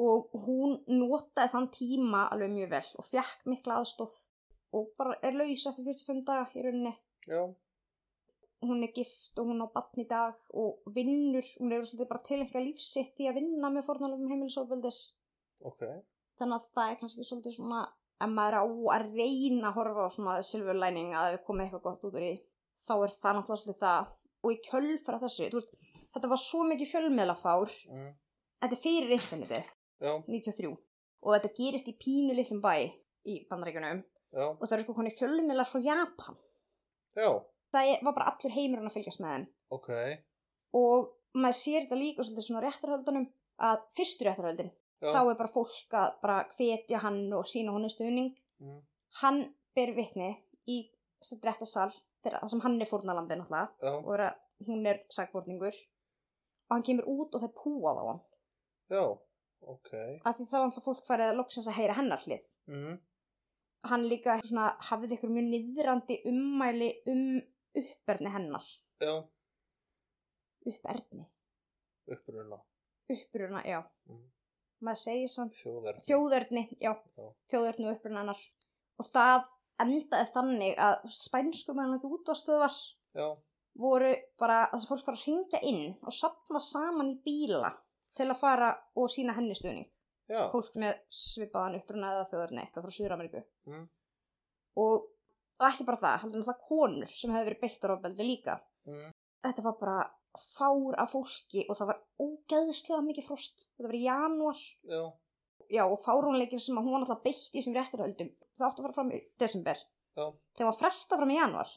[SPEAKER 1] og hún notaði þann tíma alveg mjög vel og fekk mikla aðstof og bara er laus eftir 45 daga í rauninni.
[SPEAKER 2] já,
[SPEAKER 1] Hún er gift og hún á batn í dag og vinnur, hún er svolítið bara tilengja lífsitt í að vinna með fornalöfum heimilisofbeldis
[SPEAKER 2] ok.
[SPEAKER 1] þannig að það er kannski svolítið svona ef maður er á að reyna að horfa á svona silver lining að það er komið eitthvað gott út úr í þá er það náttúrulega svolítið það og í kjölfara þessu, þú veist, þetta var svo mikið fjölmiðlafár,
[SPEAKER 2] Mm,
[SPEAKER 1] þetta er fyrir internetið,
[SPEAKER 2] já,
[SPEAKER 1] 93 og þetta gerist í pínu litlum bæ í bandaríkunum
[SPEAKER 2] já,
[SPEAKER 1] og það eru sko koni fjölmiðlar frá Japan
[SPEAKER 2] já,
[SPEAKER 1] það er- var bara allur heimurinn að fylgjast með þeim
[SPEAKER 2] ok.
[SPEAKER 1] og maður sér þetta líka svolítið svona réttarhöldunum að fyrstu réttarhöldin
[SPEAKER 2] Já,
[SPEAKER 1] þá er bara fólk að bara hvetja hann og sína honum stuðning
[SPEAKER 2] Mm.
[SPEAKER 1] hann ber vitni í drettasal þar sem hann er fórnalambi náttúrulega
[SPEAKER 2] já,
[SPEAKER 1] og er að hún er sagborningur og hann kemur út og það er púað á hann
[SPEAKER 2] já, ok.
[SPEAKER 1] af því þá er alltaf fólk farið að loksins að heyra hennar hlið
[SPEAKER 2] Mm,
[SPEAKER 1] hann líka svona, hafið ykkur mjög niðrandi ummæli um uppberni hennar
[SPEAKER 2] já,
[SPEAKER 1] uppberni,
[SPEAKER 2] uppruna,
[SPEAKER 1] uppruna, já
[SPEAKER 2] Mhm.
[SPEAKER 1] maður segir samt
[SPEAKER 2] þjóðar.
[SPEAKER 1] þjóðörni, já,
[SPEAKER 2] Já.
[SPEAKER 1] þjóðörni og uppruna hennar og það endaði þannig að spænsku meðanlega útastöðvar
[SPEAKER 2] Já,
[SPEAKER 1] voru bara, þess að fólk var að ringja inn og sapna saman í bíla til að fara og sína henni stuðning
[SPEAKER 2] já,
[SPEAKER 1] fólk með svipaðan uppruna eða þjóðörni það frá Suður-Ameríku
[SPEAKER 2] Mm.
[SPEAKER 1] og, og ekki bara það, heldur náttúrulega konur sem hefur verið beittar ofbeldi líka
[SPEAKER 2] Mm.
[SPEAKER 1] þetta var bara fár af fólki og það var ógeðslega mikið frost þetta var í janúar
[SPEAKER 2] já,
[SPEAKER 1] já, og fárúnleikin sem að hún var náttúrulega beitt í þessum réttarhöldum, það átti að fara fram í desember.
[SPEAKER 2] Já.
[SPEAKER 1] Þegar var fresta fram í januar.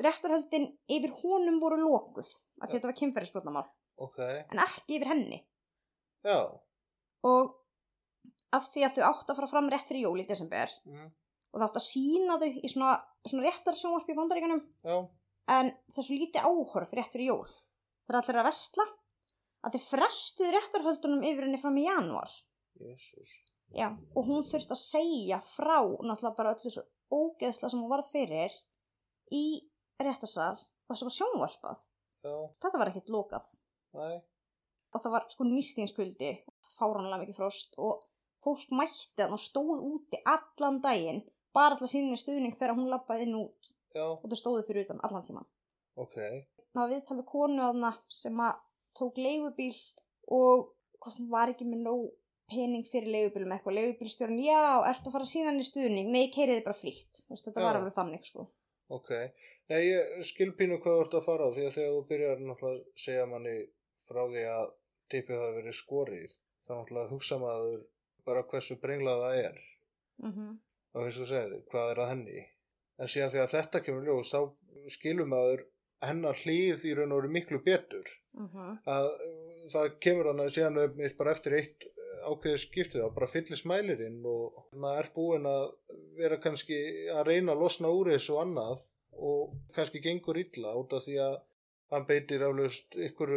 [SPEAKER 1] Réttarhöldin yfir honum voru lókuð, af því
[SPEAKER 2] Já.
[SPEAKER 1] þetta var kynferðisbrotnamál,
[SPEAKER 2] ok.
[SPEAKER 1] en ekki yfir henni.
[SPEAKER 2] Já,
[SPEAKER 1] Og af því að þau átti að fara fram rétt fyrir jól í desember
[SPEAKER 2] mm,
[SPEAKER 1] og það átti að sína þau í svona, svona réttarsjónvarp í bandaríkanum,
[SPEAKER 2] já,
[SPEAKER 1] en það er svo lítið áhorf rétt fyrir jól. Það er allir að vestla að þau frestuð réttarhöldunum yfir henni fram í januar.
[SPEAKER 2] jésús.
[SPEAKER 1] Já, og hún þurfti að segja frá náttúrulega bara öllu svo ógeðsla sem hún varð fyrir í réttasal og þess að var sjónvarpað.
[SPEAKER 2] Já,
[SPEAKER 1] Þetta var ekkert lokað
[SPEAKER 2] næ,
[SPEAKER 1] og það var sko nýstíðinskvöldi, fáránlega mikið frost og fólk mætti hann og stóð úti allan daginn bara alltaf síninni stuðning þegar hún labbaði inn út
[SPEAKER 2] já,
[SPEAKER 1] og það stóði fyrir utan allan tíman.
[SPEAKER 2] ok.
[SPEAKER 1] Það var viðtal við konu aðna sem að tók leigubíl og hvort hún var ekki með nóg pening fyrir leigubílum eða eitthvað, leigubílstjórn, já, ertu að fara að sína henni stuðning, nei, keiriði bara flýtt, Þú veist, þetta
[SPEAKER 2] Já.
[SPEAKER 1] var alveg þannig, sko.
[SPEAKER 2] Ok, nei ég skilpínu hvað þú ert að fara á því að þegar þú byrjar náttúrulega að segja manni frá því að typið hafi verið skorið þá náttúrulega hugsa maður bara hversu brenglað það er
[SPEAKER 1] Mm -hmm.
[SPEAKER 2] og eins og segir þér, hvað er að henni en síðan þegar þetta kemur í ljós þá skilur maður hennar hlýð í raun og veru miklu betur að uh, það kemur hann að síðan upp mitt bara eftir eitt uh, ákveðið skiptið að bara fyllist mælirinn og maður er búin að vera kannski að reyna að losna úr þessu og annað og kannski gengur illa út af því að hann beitir aflust ykkur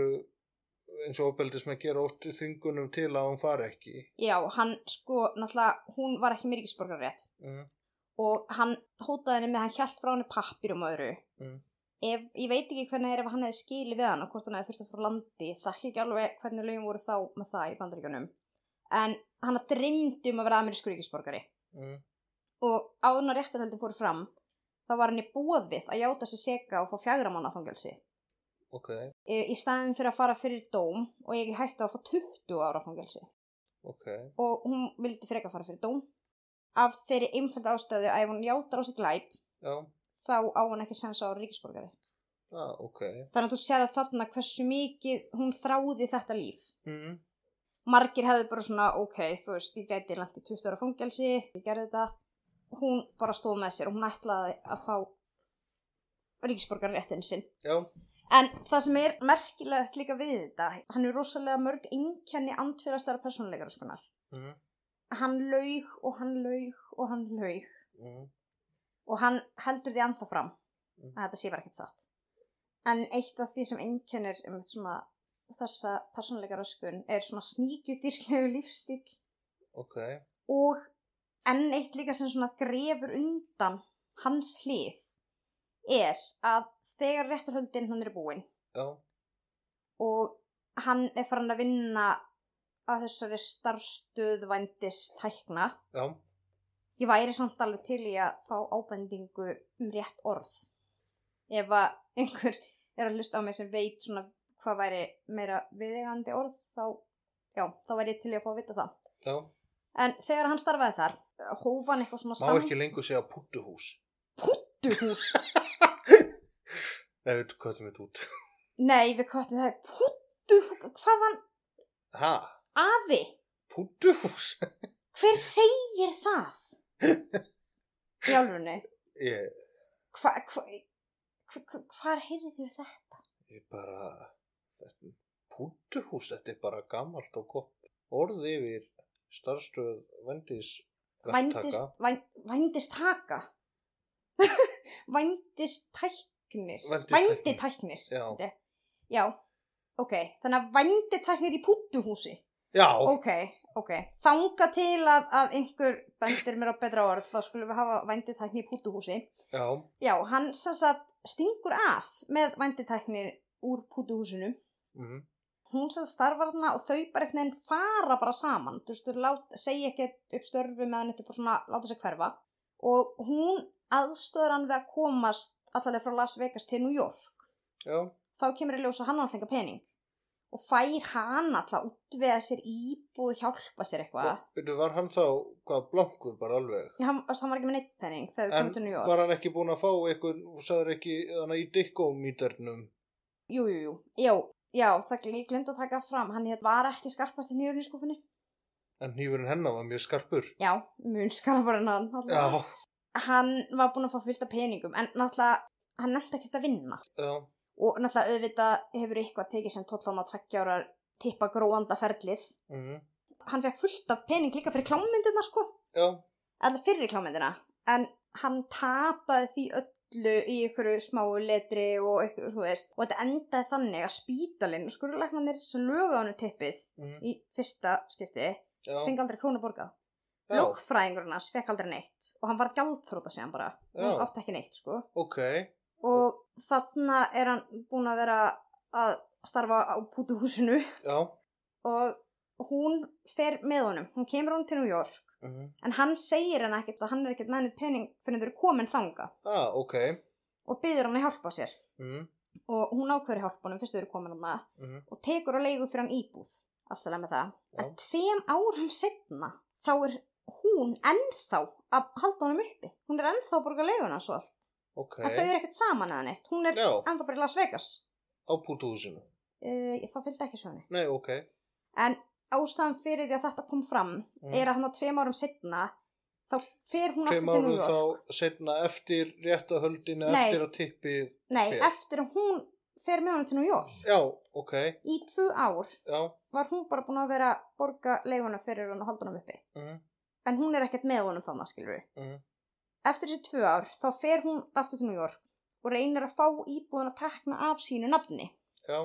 [SPEAKER 2] eins og opeldis með gera oft þingunum til að hann fari ekki
[SPEAKER 1] Já, hann sko, náttúrulega, hún var ekki með ríkisborgarrétt
[SPEAKER 2] mm,
[SPEAKER 1] og hann hótaði henni með að hann hjælt frá henni pappir um öðru.
[SPEAKER 2] Mm.
[SPEAKER 1] Ef, ég veit ekki hvernig það er ef hann hefði skilið við hann og hvort hann hefði þurft að fara úr landi. Það ekki ekki alveg hvernig lögum voru þá með það í bandaríkjunum. En hann dreymdi um að vera amerískur ríkisborgari
[SPEAKER 2] mm,
[SPEAKER 1] og áðurna réttarhöldin fóru fram þá var henni bóðið að játa sig seka og fá fjagra mánu fangelsi
[SPEAKER 2] ok,
[SPEAKER 1] e, í staðin fyrir að fara fyrir dóm og ég hætti að fá 20 ára fangelsi
[SPEAKER 2] ok
[SPEAKER 1] og hún vildi freka fara fyrir dóm af þeirri einföld ástæðu að ef hún játar á sig glæp
[SPEAKER 2] já,
[SPEAKER 1] þá á hún ekki sens á ríkisborgari
[SPEAKER 2] ah, ok
[SPEAKER 1] þannig að þú sér að þarna hversu mikið hún þráði þetta líf
[SPEAKER 2] mm,
[SPEAKER 1] margir hefðu bara svona ok, þú veist, ég gæti langt í 20 ára fangelsi ég gerði þetta hún bara stóð með sér og hún ætlaði að fá ríkisborgarréttin sinn
[SPEAKER 2] já,
[SPEAKER 1] en það sem er merkilegt líka við þetta hann er rosalega mörg einkenni andfélagstæra persónuleikar og skonar
[SPEAKER 2] mm,
[SPEAKER 1] hann laug og hann laug og hann laug
[SPEAKER 2] mm,
[SPEAKER 1] og hann heldur því anþá fram
[SPEAKER 2] Mm.
[SPEAKER 1] að þetta sé bara ekkert satt en eitt af því sem einkennir um svona þessa persónuleika röskun er svona sníkjudýrslegu lífstíl
[SPEAKER 2] ok
[SPEAKER 1] og enn eitt líka sem svona grefur undan hans hlið er að þegar réttarhöldin hann er búin
[SPEAKER 2] já,
[SPEAKER 1] og hann er farin að vinna að þessari starfstöð vændist tækna
[SPEAKER 2] já,
[SPEAKER 1] ég væri samt alveg til í að fá ábendingu um rétt orð ef að einhver er að hlusta á mig sem veit svona hvað væri meira viðegandi orð þá, já, þá væri ég til í að fá að vita það
[SPEAKER 2] já
[SPEAKER 1] en þegar hann starfaði þar hóf hann eitthvað svona
[SPEAKER 2] má
[SPEAKER 1] sam-
[SPEAKER 2] ekki lengur segja puttuhús
[SPEAKER 1] puttuhús
[SPEAKER 2] Nei, við köttum þetta út.
[SPEAKER 1] nei, við kvartum það er puttuhús hvað var hann,
[SPEAKER 2] Ha?
[SPEAKER 1] afi
[SPEAKER 2] Pútuhús?
[SPEAKER 1] hver segir það í álfunni
[SPEAKER 2] Ég,
[SPEAKER 1] hvað hva, hva, hva, hvar heyrðu þér þetta
[SPEAKER 2] ég bara, þetta, pútuhús, þetta er bara gamalt og gott. Orð yfir starfstöð vendis verktaka.
[SPEAKER 1] vændist, væn, vændist taka vændist tæknir
[SPEAKER 2] Vændistæknir.
[SPEAKER 1] vænditæknir
[SPEAKER 2] Já.
[SPEAKER 1] Þetta- já, ok þannig að vænditæknir í púttuhúsi
[SPEAKER 2] Já,
[SPEAKER 1] ok, ok, þanga til að, að einhver bendir mér á betra orð þá skulum við hafa vænditækni í púttuhúsi
[SPEAKER 2] já,
[SPEAKER 1] já, hann sem sagt stingur af með vænditæknir úr púttuhúsinu
[SPEAKER 2] mm,
[SPEAKER 1] hún sem starfar hana og þau bara einhvern veginn fara bara saman þú veist, þau lát- segja ekki upp störfi meðan þetta er bara svona, láta sig hverfa og hún aðstöður hann við að komast allalega frá Las Vegas til New York
[SPEAKER 2] já,
[SPEAKER 1] þá kemur í ljós að hann á alltaf enga pening og fær hann alltaf að útvega sér íbúð hjálpa sér eitthvað
[SPEAKER 2] Og- veitu, var hann þá, hvað, blankur bara alveg?
[SPEAKER 1] Já, hann, þú veist, hann var ekki með neitt pening þegar þau
[SPEAKER 2] En
[SPEAKER 1] komið til New York
[SPEAKER 2] var hann ekki búin að fá eitthvað, og sagður ekki, þannig í dikkómíternum?
[SPEAKER 1] Jú, jú, jú, já, já, það gl- ég glemt að taka fram hann hét- var ekki skarpast í nýjurinn í skúfinni
[SPEAKER 2] En hnífurinn hennar var mjög skarpur.
[SPEAKER 1] Já, mun skarpar en hann alltaf.
[SPEAKER 2] Já,
[SPEAKER 1] hann var búinn að fá fullt af peningum en náttúrulega hann nefndi ekkert að vinna
[SPEAKER 2] já,
[SPEAKER 1] og náttúrulega auðvitað hefur eitthvað tekið sem tóllan að tveggja ára tippa gróanda ferlið
[SPEAKER 2] mm,
[SPEAKER 1] hann fekk fullt af pening líka fyrir klámyndina sko
[SPEAKER 2] já,
[SPEAKER 1] eða fyrir klámyndina en hann tapaði því öllu í ykkur smáu letri og ykkur, þú veist og þetta endaði þannig að spítalinn skurðlæknarnir sem lögða honum tippið
[SPEAKER 2] mm,
[SPEAKER 1] í fyrsta skipti
[SPEAKER 2] já,
[SPEAKER 1] fengi aldrei krónu borgað
[SPEAKER 2] já,
[SPEAKER 1] lögfræðingurinn hans fekk aldrei neitt og hann var gjaldþróta síðan bara
[SPEAKER 2] Já.
[SPEAKER 1] hann átti ekki neitt sko
[SPEAKER 2] ok,
[SPEAKER 1] og þarna er hann búin að vera að starfa á pútuhúsinu
[SPEAKER 2] já,
[SPEAKER 1] og hún fer með honum, hún kemur honum til New York
[SPEAKER 2] mm,
[SPEAKER 1] en hann segir henni ekkert að hann er ekkert með henni pening fyrir þau eru komin þanga
[SPEAKER 2] ah, ok,
[SPEAKER 1] og byður hann að hjálpa sér
[SPEAKER 2] mm,
[SPEAKER 1] og hún ákveður hjálp honum fyrst þau eru komin hann
[SPEAKER 2] mm,
[SPEAKER 1] og tekur á leigu fyrir hann íbúð alltaf leið með það, en
[SPEAKER 2] Já.
[SPEAKER 1] tveim árum setna þá er hún ennþá að halda honum uppi hún er ennþá að borga leiguna svo allt
[SPEAKER 2] ok.
[SPEAKER 1] en þau eru ekkert saman eða neitt, hún er
[SPEAKER 2] Já,
[SPEAKER 1] ennþá bara í Las Vegas
[SPEAKER 2] á pútuhúsinu.
[SPEAKER 1] Eh, uh, það fylgdi ekki sögni
[SPEAKER 2] Nei, ok.
[SPEAKER 1] en ástæðan fyrir því að þetta kom fram
[SPEAKER 2] Mm.
[SPEAKER 1] er að hann að tveim árum setna þá fer hún
[SPEAKER 2] Tveim
[SPEAKER 1] aftur til New
[SPEAKER 2] árum
[SPEAKER 1] York
[SPEAKER 2] þá setna eftir réttahöldinu,
[SPEAKER 1] Nei.
[SPEAKER 2] eftir að tippið.
[SPEAKER 1] nei,
[SPEAKER 2] fer.
[SPEAKER 1] eftir að hún fer með hann til New York
[SPEAKER 2] Já, ok,
[SPEAKER 1] í tvö ár
[SPEAKER 2] já.
[SPEAKER 1] var hún bara búin að vera að borga leifuna fyrir hann og halda hann uppi
[SPEAKER 2] Mm,
[SPEAKER 1] en hún er ekkert með honum þannig skilur við
[SPEAKER 2] mm,
[SPEAKER 1] eftir þessi tvö ár þá fer hún aftur til New York og reynir að fá íbúðin að tekna af sínu nafni
[SPEAKER 2] já,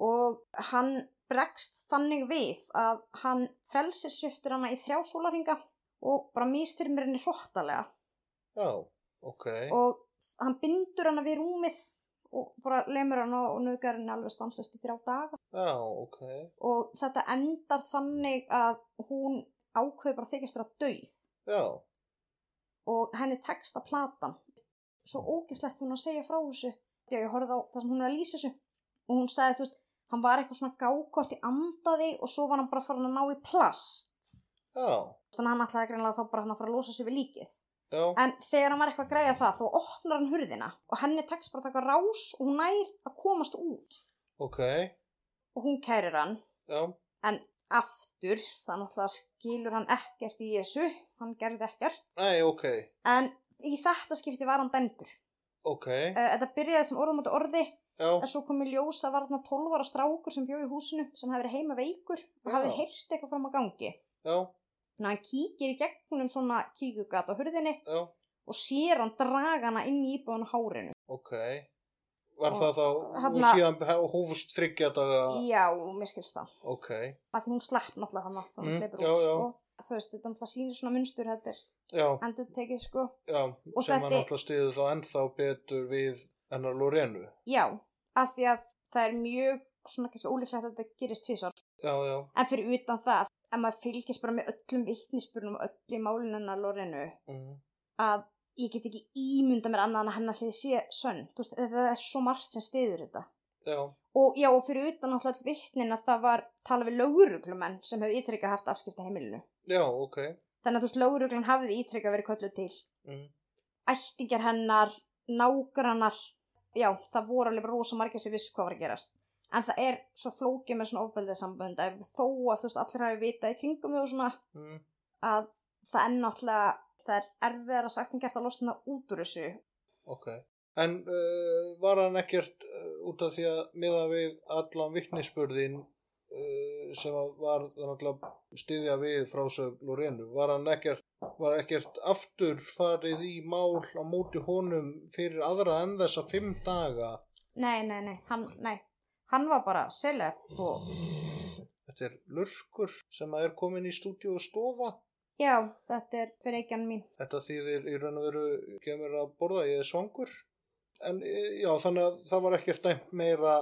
[SPEAKER 1] og hann bregst þannig við að hann frelsissviftir hana í þrjá sólarhinga og bara mistyrmir henni hróttalega
[SPEAKER 2] já, ok.
[SPEAKER 1] og hann bindur hana við rúmið og bara lemur hana og nöðgar henni alveg stanslust í þrjá daga
[SPEAKER 2] Já, ok.
[SPEAKER 1] og þetta endar þannig að hún ákveður bara þykist þér að döið
[SPEAKER 2] Já,
[SPEAKER 1] og henni tekst að platan svo ógislegt hún að segja frá þessu þegar ég horfði á það sem hún er að lýsa þessu og hún sagði þú veist hann var eitthvað svona gákort í andaði og svo var hann bara farin að ná í plast
[SPEAKER 2] já,
[SPEAKER 1] þannig að hann ætlaði greinlega þá bara hann að fara að losa sig við líkið
[SPEAKER 2] já,
[SPEAKER 1] en þegar hann var eitthvað að græja það þá opnar hann hurðina og henni tekst bara að taka rás og hún nær að komast út
[SPEAKER 2] ok,
[SPEAKER 1] og hún kærir hann
[SPEAKER 2] já,
[SPEAKER 1] aftur þannig að skilur hann ekkert í þessu hann gerði ekkert
[SPEAKER 2] nei, ok,
[SPEAKER 1] en í þetta skipti var hann dæmdur
[SPEAKER 2] ok,
[SPEAKER 1] Eh, Þetta byrjaði sem orðum út orði
[SPEAKER 2] já,
[SPEAKER 1] en svo kom í ljós að var þarna 12 ára strákur sem bjóð í húsinu sem hefði verið heima veikur og
[SPEAKER 2] Já.
[SPEAKER 1] hafði heyrt eitthvað fram að gangi.
[SPEAKER 2] já,
[SPEAKER 1] Þannig að hann kíkir í gegnum svona kíkugat á hurðinni
[SPEAKER 2] já,
[SPEAKER 1] og sér hann dragana inn í íbúðan á hárinu.
[SPEAKER 2] ok. Var
[SPEAKER 1] Og
[SPEAKER 2] það þá, og
[SPEAKER 1] þarna-
[SPEAKER 2] síðan húfust þryggja daga,
[SPEAKER 1] Já, mér skilst það.
[SPEAKER 2] ok,
[SPEAKER 1] Af því hún slapp náttúrulega hann að
[SPEAKER 2] Mm,
[SPEAKER 1] þannig leipur
[SPEAKER 2] já,
[SPEAKER 1] út,
[SPEAKER 2] já.
[SPEAKER 1] sko. Þú veist, þetta náttúrulega sýnir svona munstur þetta er
[SPEAKER 2] já,
[SPEAKER 1] endur tekið, sko.
[SPEAKER 2] já,
[SPEAKER 1] og
[SPEAKER 2] sem
[SPEAKER 1] þetta-
[SPEAKER 2] hann alltaf stiði þá ennþá betur við hennar Lorenu.
[SPEAKER 1] Já, af því að það er mjög svona kannski ólíklegt að þetta gerist tvisvar.
[SPEAKER 2] Já, já,
[SPEAKER 1] En fyrir utan það, ef maður fylgist bara með öllum vittnispurnum og öllum málunina Lorenu,
[SPEAKER 2] mm,
[SPEAKER 1] að ég get ekki ímynda mér annað en að hennar hlið sé sönn Þú veist, það er svo margt sem stiður þetta
[SPEAKER 2] já,
[SPEAKER 1] og já og fyrir utan alltaf vittnin að það var tala við löguruglumenn sem hefði ítrekka haft afskipta heimilinu
[SPEAKER 2] já, ok,
[SPEAKER 1] þannig að þú veist löguruglan hafði ítrekka verið kölluð til
[SPEAKER 2] mm,
[SPEAKER 1] ættingar hennar, nágrannar já það voru alveg bara rosa margir sem vissu hvað var að gerast en það er svo flókið með svona ofbeldið sambönd að þó að þú veist allir hafi vitað í kringum þau og svona
[SPEAKER 2] mm,
[SPEAKER 1] að það er náttúrulega það er erfiðara sagt en gert að losna út úr þessu
[SPEAKER 2] ok. En uh, var hann ekkert uh, út af því að miða við allan vittnispurðin uh, sem að var þannig að stiðja við frásög Lorenu, var hann ekkert, var ekkert aftur farið í mál á móti honum fyrir aðra en þessa fimm daga?
[SPEAKER 1] Nei, nei, nei, hann, nei. hann var bara seleb og
[SPEAKER 2] Þetta er lurkur sem að er komin í stúdíu og stofa.
[SPEAKER 1] já, þetta er fyrir eikjan mín.
[SPEAKER 2] Þetta þýðir í raun og veru kemur að borða, ég er svangur. En eh, já, þannig að það var ekkert dæmt meira,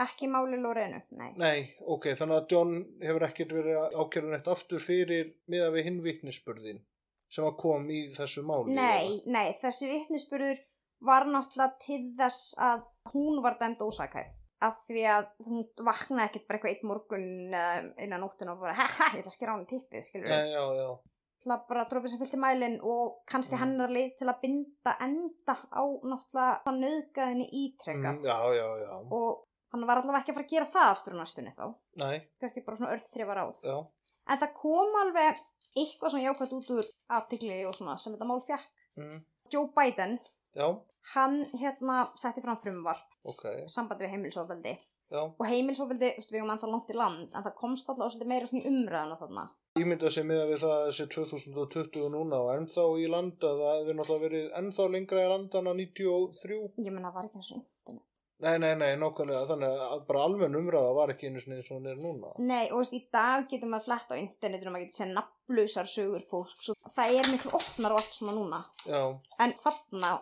[SPEAKER 1] Ekki máli Lorenu, nei.
[SPEAKER 2] nei, ok, þannig að John hefur ekkert verið ákjörðun eitt aftur fyrir miða við hinn vitnisspurðin sem að kom í þessu máli.
[SPEAKER 1] Nei, nei, þessi vittnisspurður var náttúrulega til þess að hún var dæmd ósakæð. Af því að hún vaknaði ekkert bara eitthvað eitt morgun eh, innan nóttin og bara, haha, ég ætla að skera á hann tippið, skilur við.
[SPEAKER 2] Nei, já, já,
[SPEAKER 1] Það bara dropið sem fylgti mælinn og kannski
[SPEAKER 2] Mm.
[SPEAKER 1] hennar leið til að binda enda á náttúrulega hann nöðgæðinni
[SPEAKER 2] mm,
[SPEAKER 1] ítrekkað.
[SPEAKER 2] já, já, já,
[SPEAKER 1] Og hann var allavega ekki að fara að gera það aftur á næstunni þá.
[SPEAKER 2] nei,
[SPEAKER 1] kannski bara svona örþrifa ráð.
[SPEAKER 2] já,
[SPEAKER 1] En það kom alveg eitthvað svona jákvæmt út úr aðtikli og svona sem þetta mál fjekk.
[SPEAKER 2] mm,
[SPEAKER 1] Joe Biden,
[SPEAKER 2] já,
[SPEAKER 1] hann hérna setti fram frumvarp
[SPEAKER 2] ok,
[SPEAKER 1] sambandi við heimilsofbeldi
[SPEAKER 2] já.
[SPEAKER 1] og heimilsofbeldi, þú veist, við erum ennþá langt í land en það komst alltaf svolítið meira svona í umræðuna þarna.
[SPEAKER 2] Ímynda sig miða við það að þessi 2020 núna og ennþá í landa, það hefur náttúrulega verið ennþá lengra í landana 93.
[SPEAKER 1] Ég menna, var ekki eins og internet.
[SPEAKER 2] Nei, nei, nei, nákvæmlega, þannig að bara almenn umræða var ekki einu sinni eins og hún er núna.
[SPEAKER 1] Nei, og þú veist, í dag getur maður flett á internetinu og maður getur séð nafnlausar sögur fólks og það er miklu opnar og allt svona núna.
[SPEAKER 2] Já,
[SPEAKER 1] En þarna,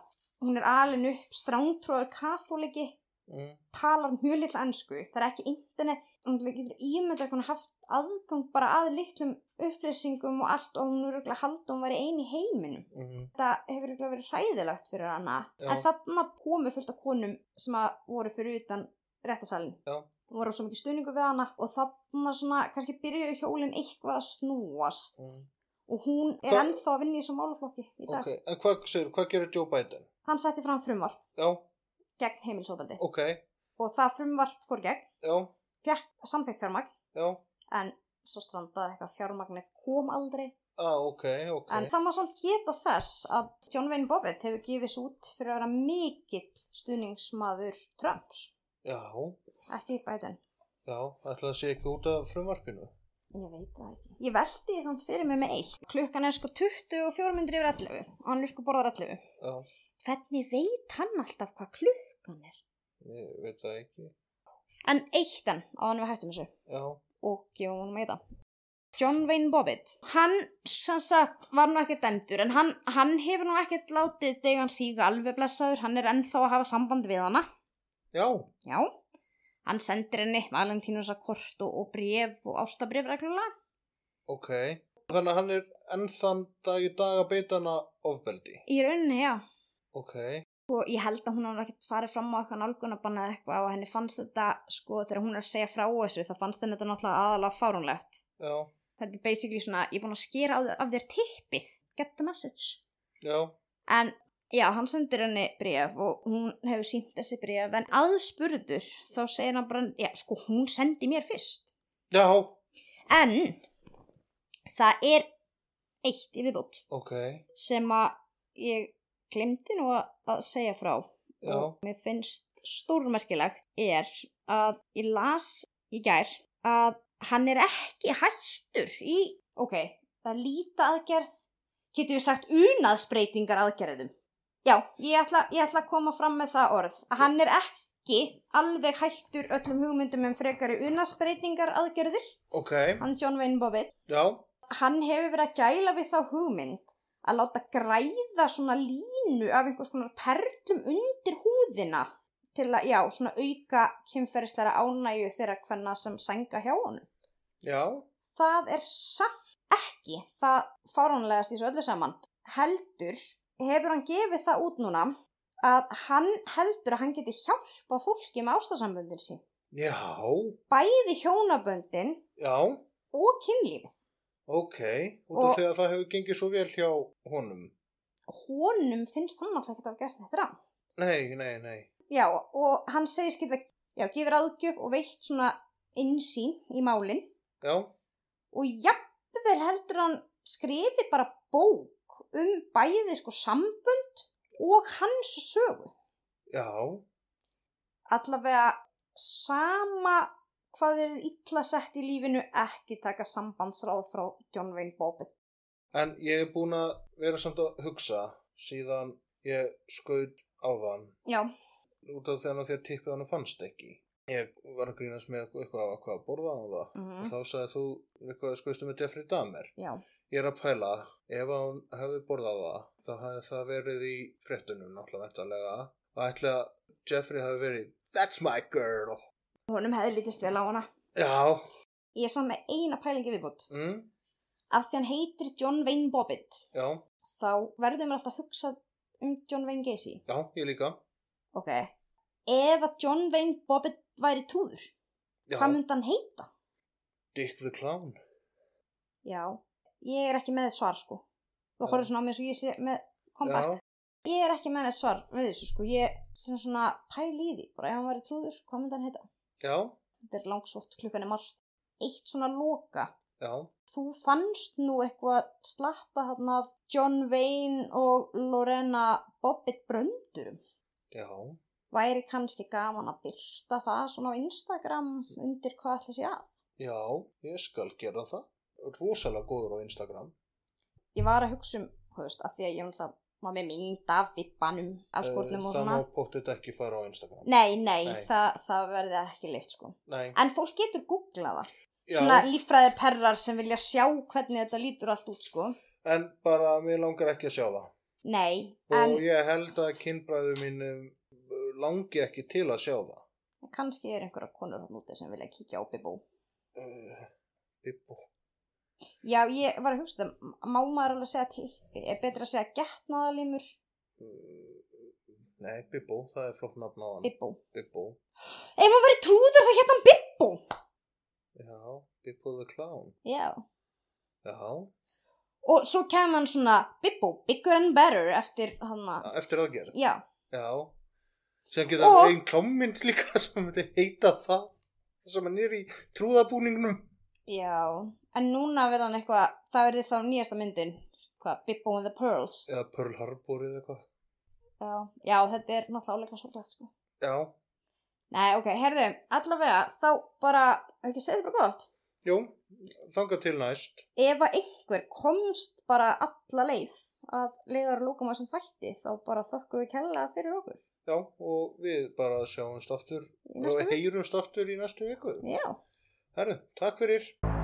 [SPEAKER 1] hún er alin upp strángtróður katholiki
[SPEAKER 2] mm,
[SPEAKER 1] talar mjög litla ennsku, það er ekki internet, hún getur ímynda hvernig haft aðgang bara að litlum upplýsingum og allt og hún er örugglega að halda að hún væri ein í heiminum.
[SPEAKER 2] mm,
[SPEAKER 1] Þetta hefur örugglega verið hræðilegt fyrir hana,
[SPEAKER 2] Já.
[SPEAKER 1] en þarna komu fullt af konum sem að voru fyrir utan réttasalinn.
[SPEAKER 2] Já.
[SPEAKER 1] voru svo mikið stuðningu við hana og þarna svona, kannski byrjuðu hjólinn eitthvað að snúast
[SPEAKER 2] mm.
[SPEAKER 1] og hún er
[SPEAKER 2] Hva-
[SPEAKER 1] ennþá að vinna í þessum málaflokki í dag.
[SPEAKER 2] Ok, en hvað, segir, hvað gerir Joe Biden?
[SPEAKER 1] Hann setti fram frumvarp
[SPEAKER 2] Já,
[SPEAKER 1] gegn heimilsofaldi
[SPEAKER 2] ok,
[SPEAKER 1] og það frumvarp fór gegn,
[SPEAKER 2] já,
[SPEAKER 1] fekk samþekkt fjármagn
[SPEAKER 2] já,
[SPEAKER 1] en svo strandaði eitthvað fjármagnir kom aldrei
[SPEAKER 2] ah, ok, ok
[SPEAKER 1] En það má samt geta þess að John Wayne Bobbitt hefur gefið svo út fyrir að vera mikill stuðningsmaður Trumps,
[SPEAKER 2] Já,
[SPEAKER 1] ekki Biden.
[SPEAKER 2] já, ætla að sé ekki út af frumvarpinu
[SPEAKER 1] Ég veit það ekki. Ég velti því samt fyrir mig með eitt. Klukkan er sko 24 myndir yfir 11 og hann er sko borðar 11.
[SPEAKER 2] Já,
[SPEAKER 1] Hvernig veit hann alltaf hvað klukkan er?
[SPEAKER 2] ég veit það ekki
[SPEAKER 1] En eitt enn á hann við hættum þessu
[SPEAKER 2] Já,
[SPEAKER 1] og gefum hann meita. John Wayne Bobbitt, hann sem sagt var nú ekkert endur en hann, hann hefur nú ekkert látið degan síga alveg blessaður, hann er ennþá að hafa samband við hana.
[SPEAKER 2] já,
[SPEAKER 1] Já, hann sendir henni Valentínusa kort og, og bref og ástabref reglulega.
[SPEAKER 2] ok Þannig að hann er enn þann dag í dag að beita hana ofbeldi
[SPEAKER 1] Í rauninni, já.
[SPEAKER 2] Ok,
[SPEAKER 1] Og Sko, ég held að hún hafa ekkert farið fram á eitthvað nálgunabann eða eitthvað og henni fannst þetta, sko, þegar hún er að segja frá þessu, þá fannst henni þetta náttúrulega aðalega fárunlegt.
[SPEAKER 2] já,
[SPEAKER 1] Þetta er basically svona, ég er búin að skera á, af þér tippið. Get the message.
[SPEAKER 2] já,
[SPEAKER 1] En já, hann sendir henni bref og hún hefur sínt þessi bref, en aðspurður þá segir hann bara, já, sko, hún sendi mér fyrst.
[SPEAKER 2] já,
[SPEAKER 1] En það er eitt í viðbót
[SPEAKER 2] ok,
[SPEAKER 1] sem að ég glemdi nú að, að segja frá
[SPEAKER 2] já,
[SPEAKER 1] og mér finnst stórmerkilegt er að ég las í gær að hann er ekki hættur í, ok, það líta aðgerð, getur við sagt unaðsbreytingar aðgerðum. Já, ég ætla, ég ætla að koma fram með það orð. að Hann er ekki alveg hættur öllum hugmyndum um frekari unaðsbreytingar aðgerður,
[SPEAKER 2] ok,
[SPEAKER 1] hann John Wayne Bobbitt
[SPEAKER 2] já,
[SPEAKER 1] hann hefur verið að gæla við þá hugmynd að láta græða svona línu af einhvers konar perlum undir húðina til að, já, svona auka kynferðislega ánægju þeirra hvenna sem sænga hjá honum.
[SPEAKER 2] já,
[SPEAKER 1] Það er samt ekki það fáránlegast í svo öllu saman. Heldur hefur hann gefið það út núna að hann heldur að hann geti hjálpa fólki með ástasamböndin sín.
[SPEAKER 2] já,
[SPEAKER 1] Bæði hjónaböndin
[SPEAKER 2] já,
[SPEAKER 1] og kynlífið.
[SPEAKER 2] ok Út af
[SPEAKER 1] Og-
[SPEAKER 2] því að það hefur gengið svo vel hjá honum
[SPEAKER 1] Honum finnst hann alltaf ekki að hafa gert þetta rann.
[SPEAKER 2] Nei, nei, nei,
[SPEAKER 1] Já, og hann segist geta, já, gefur aðgjöf og veitt svona innsýn í málinn
[SPEAKER 2] já,
[SPEAKER 1] og jafnvel heldur hann skrifi bara bók um bæði sko sambönd og hans sögu.
[SPEAKER 2] já,
[SPEAKER 1] Allavega sama hvað er illa sett í lífinu ekki taka sambandsráð frá John Wayne Bobbitt.
[SPEAKER 2] En ég er búin að vera samt að hugsa síðan ég skaut á þann
[SPEAKER 1] Já,
[SPEAKER 2] út af þegar þér tippið hann fannst ekki. Ég var að grínast með eitthvað að hvað að borða á það.
[SPEAKER 1] mhm,
[SPEAKER 2] Og þá sagði þú eitthvað skaustu með Jeffrey Dahmer.
[SPEAKER 1] já,
[SPEAKER 2] Ég er að pæla, ef hann hefði borðað á það, þá hefði það verið í fréttunum náttúrulega væntanlega. Og ætli að Jeffrey hefði verið, that's my girl.
[SPEAKER 1] honum hefði lítist vel á hana.
[SPEAKER 2] Já,
[SPEAKER 1] Ég er saman með eina pælingi viðbútt.
[SPEAKER 2] mm,
[SPEAKER 1] Af því hann heitir John Wayne Bobbitt
[SPEAKER 2] já,
[SPEAKER 1] þá verður mér alltaf að hugsa um John Wayne Gacy.
[SPEAKER 2] já, ég líka.
[SPEAKER 1] Ok. Ef að John Wayne Bobbitt væri trúður,
[SPEAKER 2] Já,
[SPEAKER 1] hvað myndi hann heita?
[SPEAKER 2] Dick the Clown.
[SPEAKER 1] Já, ég er ekki með svar sko. Þú
[SPEAKER 2] Já.
[SPEAKER 1] horfður svona á mér svo ég sé með comeback. Ég er ekki með svar við þessu sko. Ég er svona pæli í því, bara ef hann væri trúður, hvað myndi hann heita?
[SPEAKER 2] Já, já,
[SPEAKER 1] Þetta er langsótt, klukkan er margt. Eitt svona loka.
[SPEAKER 2] já,
[SPEAKER 1] Þú fannst nú eitthvað slappa hann af John Wayne og Lorena Bobbitt bröndurum.
[SPEAKER 2] já,
[SPEAKER 1] væri kannski gaman að byrta það svona á Instagram undir hvað ætla sé að.
[SPEAKER 2] já, ég skal gera það. Rosalega góður á Instagram.
[SPEAKER 1] Ég var að hugsa um, höfust, að því að ég náttúrulega var með mynd af vippanum af
[SPEAKER 2] Eh,
[SPEAKER 1] skórnum og
[SPEAKER 2] Það
[SPEAKER 1] svona.
[SPEAKER 2] má pottet ekki fara á Instagram.
[SPEAKER 1] Nei, nei,
[SPEAKER 2] Nei.
[SPEAKER 1] Það, það verði ekki leift sko.
[SPEAKER 2] Nei,
[SPEAKER 1] En fólk getur googlað það.
[SPEAKER 2] já,
[SPEAKER 1] Svona líffræði perrar sem vilja sjá hvernig þetta lítur allt út sko.
[SPEAKER 2] en bara mér langar ekki að sjá það.
[SPEAKER 1] Nei,
[SPEAKER 2] Og
[SPEAKER 1] en
[SPEAKER 2] ég held að kynbræðu mínum eh, langi ekki til að sjá það.
[SPEAKER 1] kannski er einhverja konur hann úti sem vilja kíkja á Bibó.
[SPEAKER 2] Uh, Bibbo.
[SPEAKER 1] Já, ég var að hugsa þetta, má maður alveg segja tippi, er betra að segja getnaðalímur,
[SPEAKER 2] Uh, nei, Bibbo, það er flott nafn á hann.
[SPEAKER 1] Bibó.
[SPEAKER 2] Bibbo.
[SPEAKER 1] Ef maður verið trúður það hérna Bibó.
[SPEAKER 2] Já, Bibbo the Clown.
[SPEAKER 1] Já.
[SPEAKER 2] Já,
[SPEAKER 1] Og svo kem hann svona Bibbo, Bigger and Better eftir hann að,
[SPEAKER 2] eftir aðgerð.
[SPEAKER 1] já,
[SPEAKER 2] Já. Sem geta og...
[SPEAKER 1] Og-
[SPEAKER 2] einn klámynd líka sem myndi heita það. Það sem hann er í trúðabúningnum.
[SPEAKER 1] Já, en núna verða hann eitthvað, það verði þá nýjasta myndin, hvað, Bibbo and the Pearls.
[SPEAKER 2] eða Pearl Harbor eða eitthvað
[SPEAKER 1] Já, já þetta er náttúrulega áleika svolítið, sko.
[SPEAKER 2] já,
[SPEAKER 1] Nei, ok, herðu, allavega, þá bara, er ekki að segja þetta bara gott?
[SPEAKER 2] jú, þanga til næst
[SPEAKER 1] Ef að einhver komst bara alla leið að leiðar lúkum að sem þætti, þá bara þökkum við kella fyrir okkur
[SPEAKER 2] já, og við bara sjáumst aftur
[SPEAKER 1] í
[SPEAKER 2] og
[SPEAKER 1] næstu viku.
[SPEAKER 2] heyrumst aftur í næstu viku
[SPEAKER 1] Já.
[SPEAKER 2] herru, takk fyrir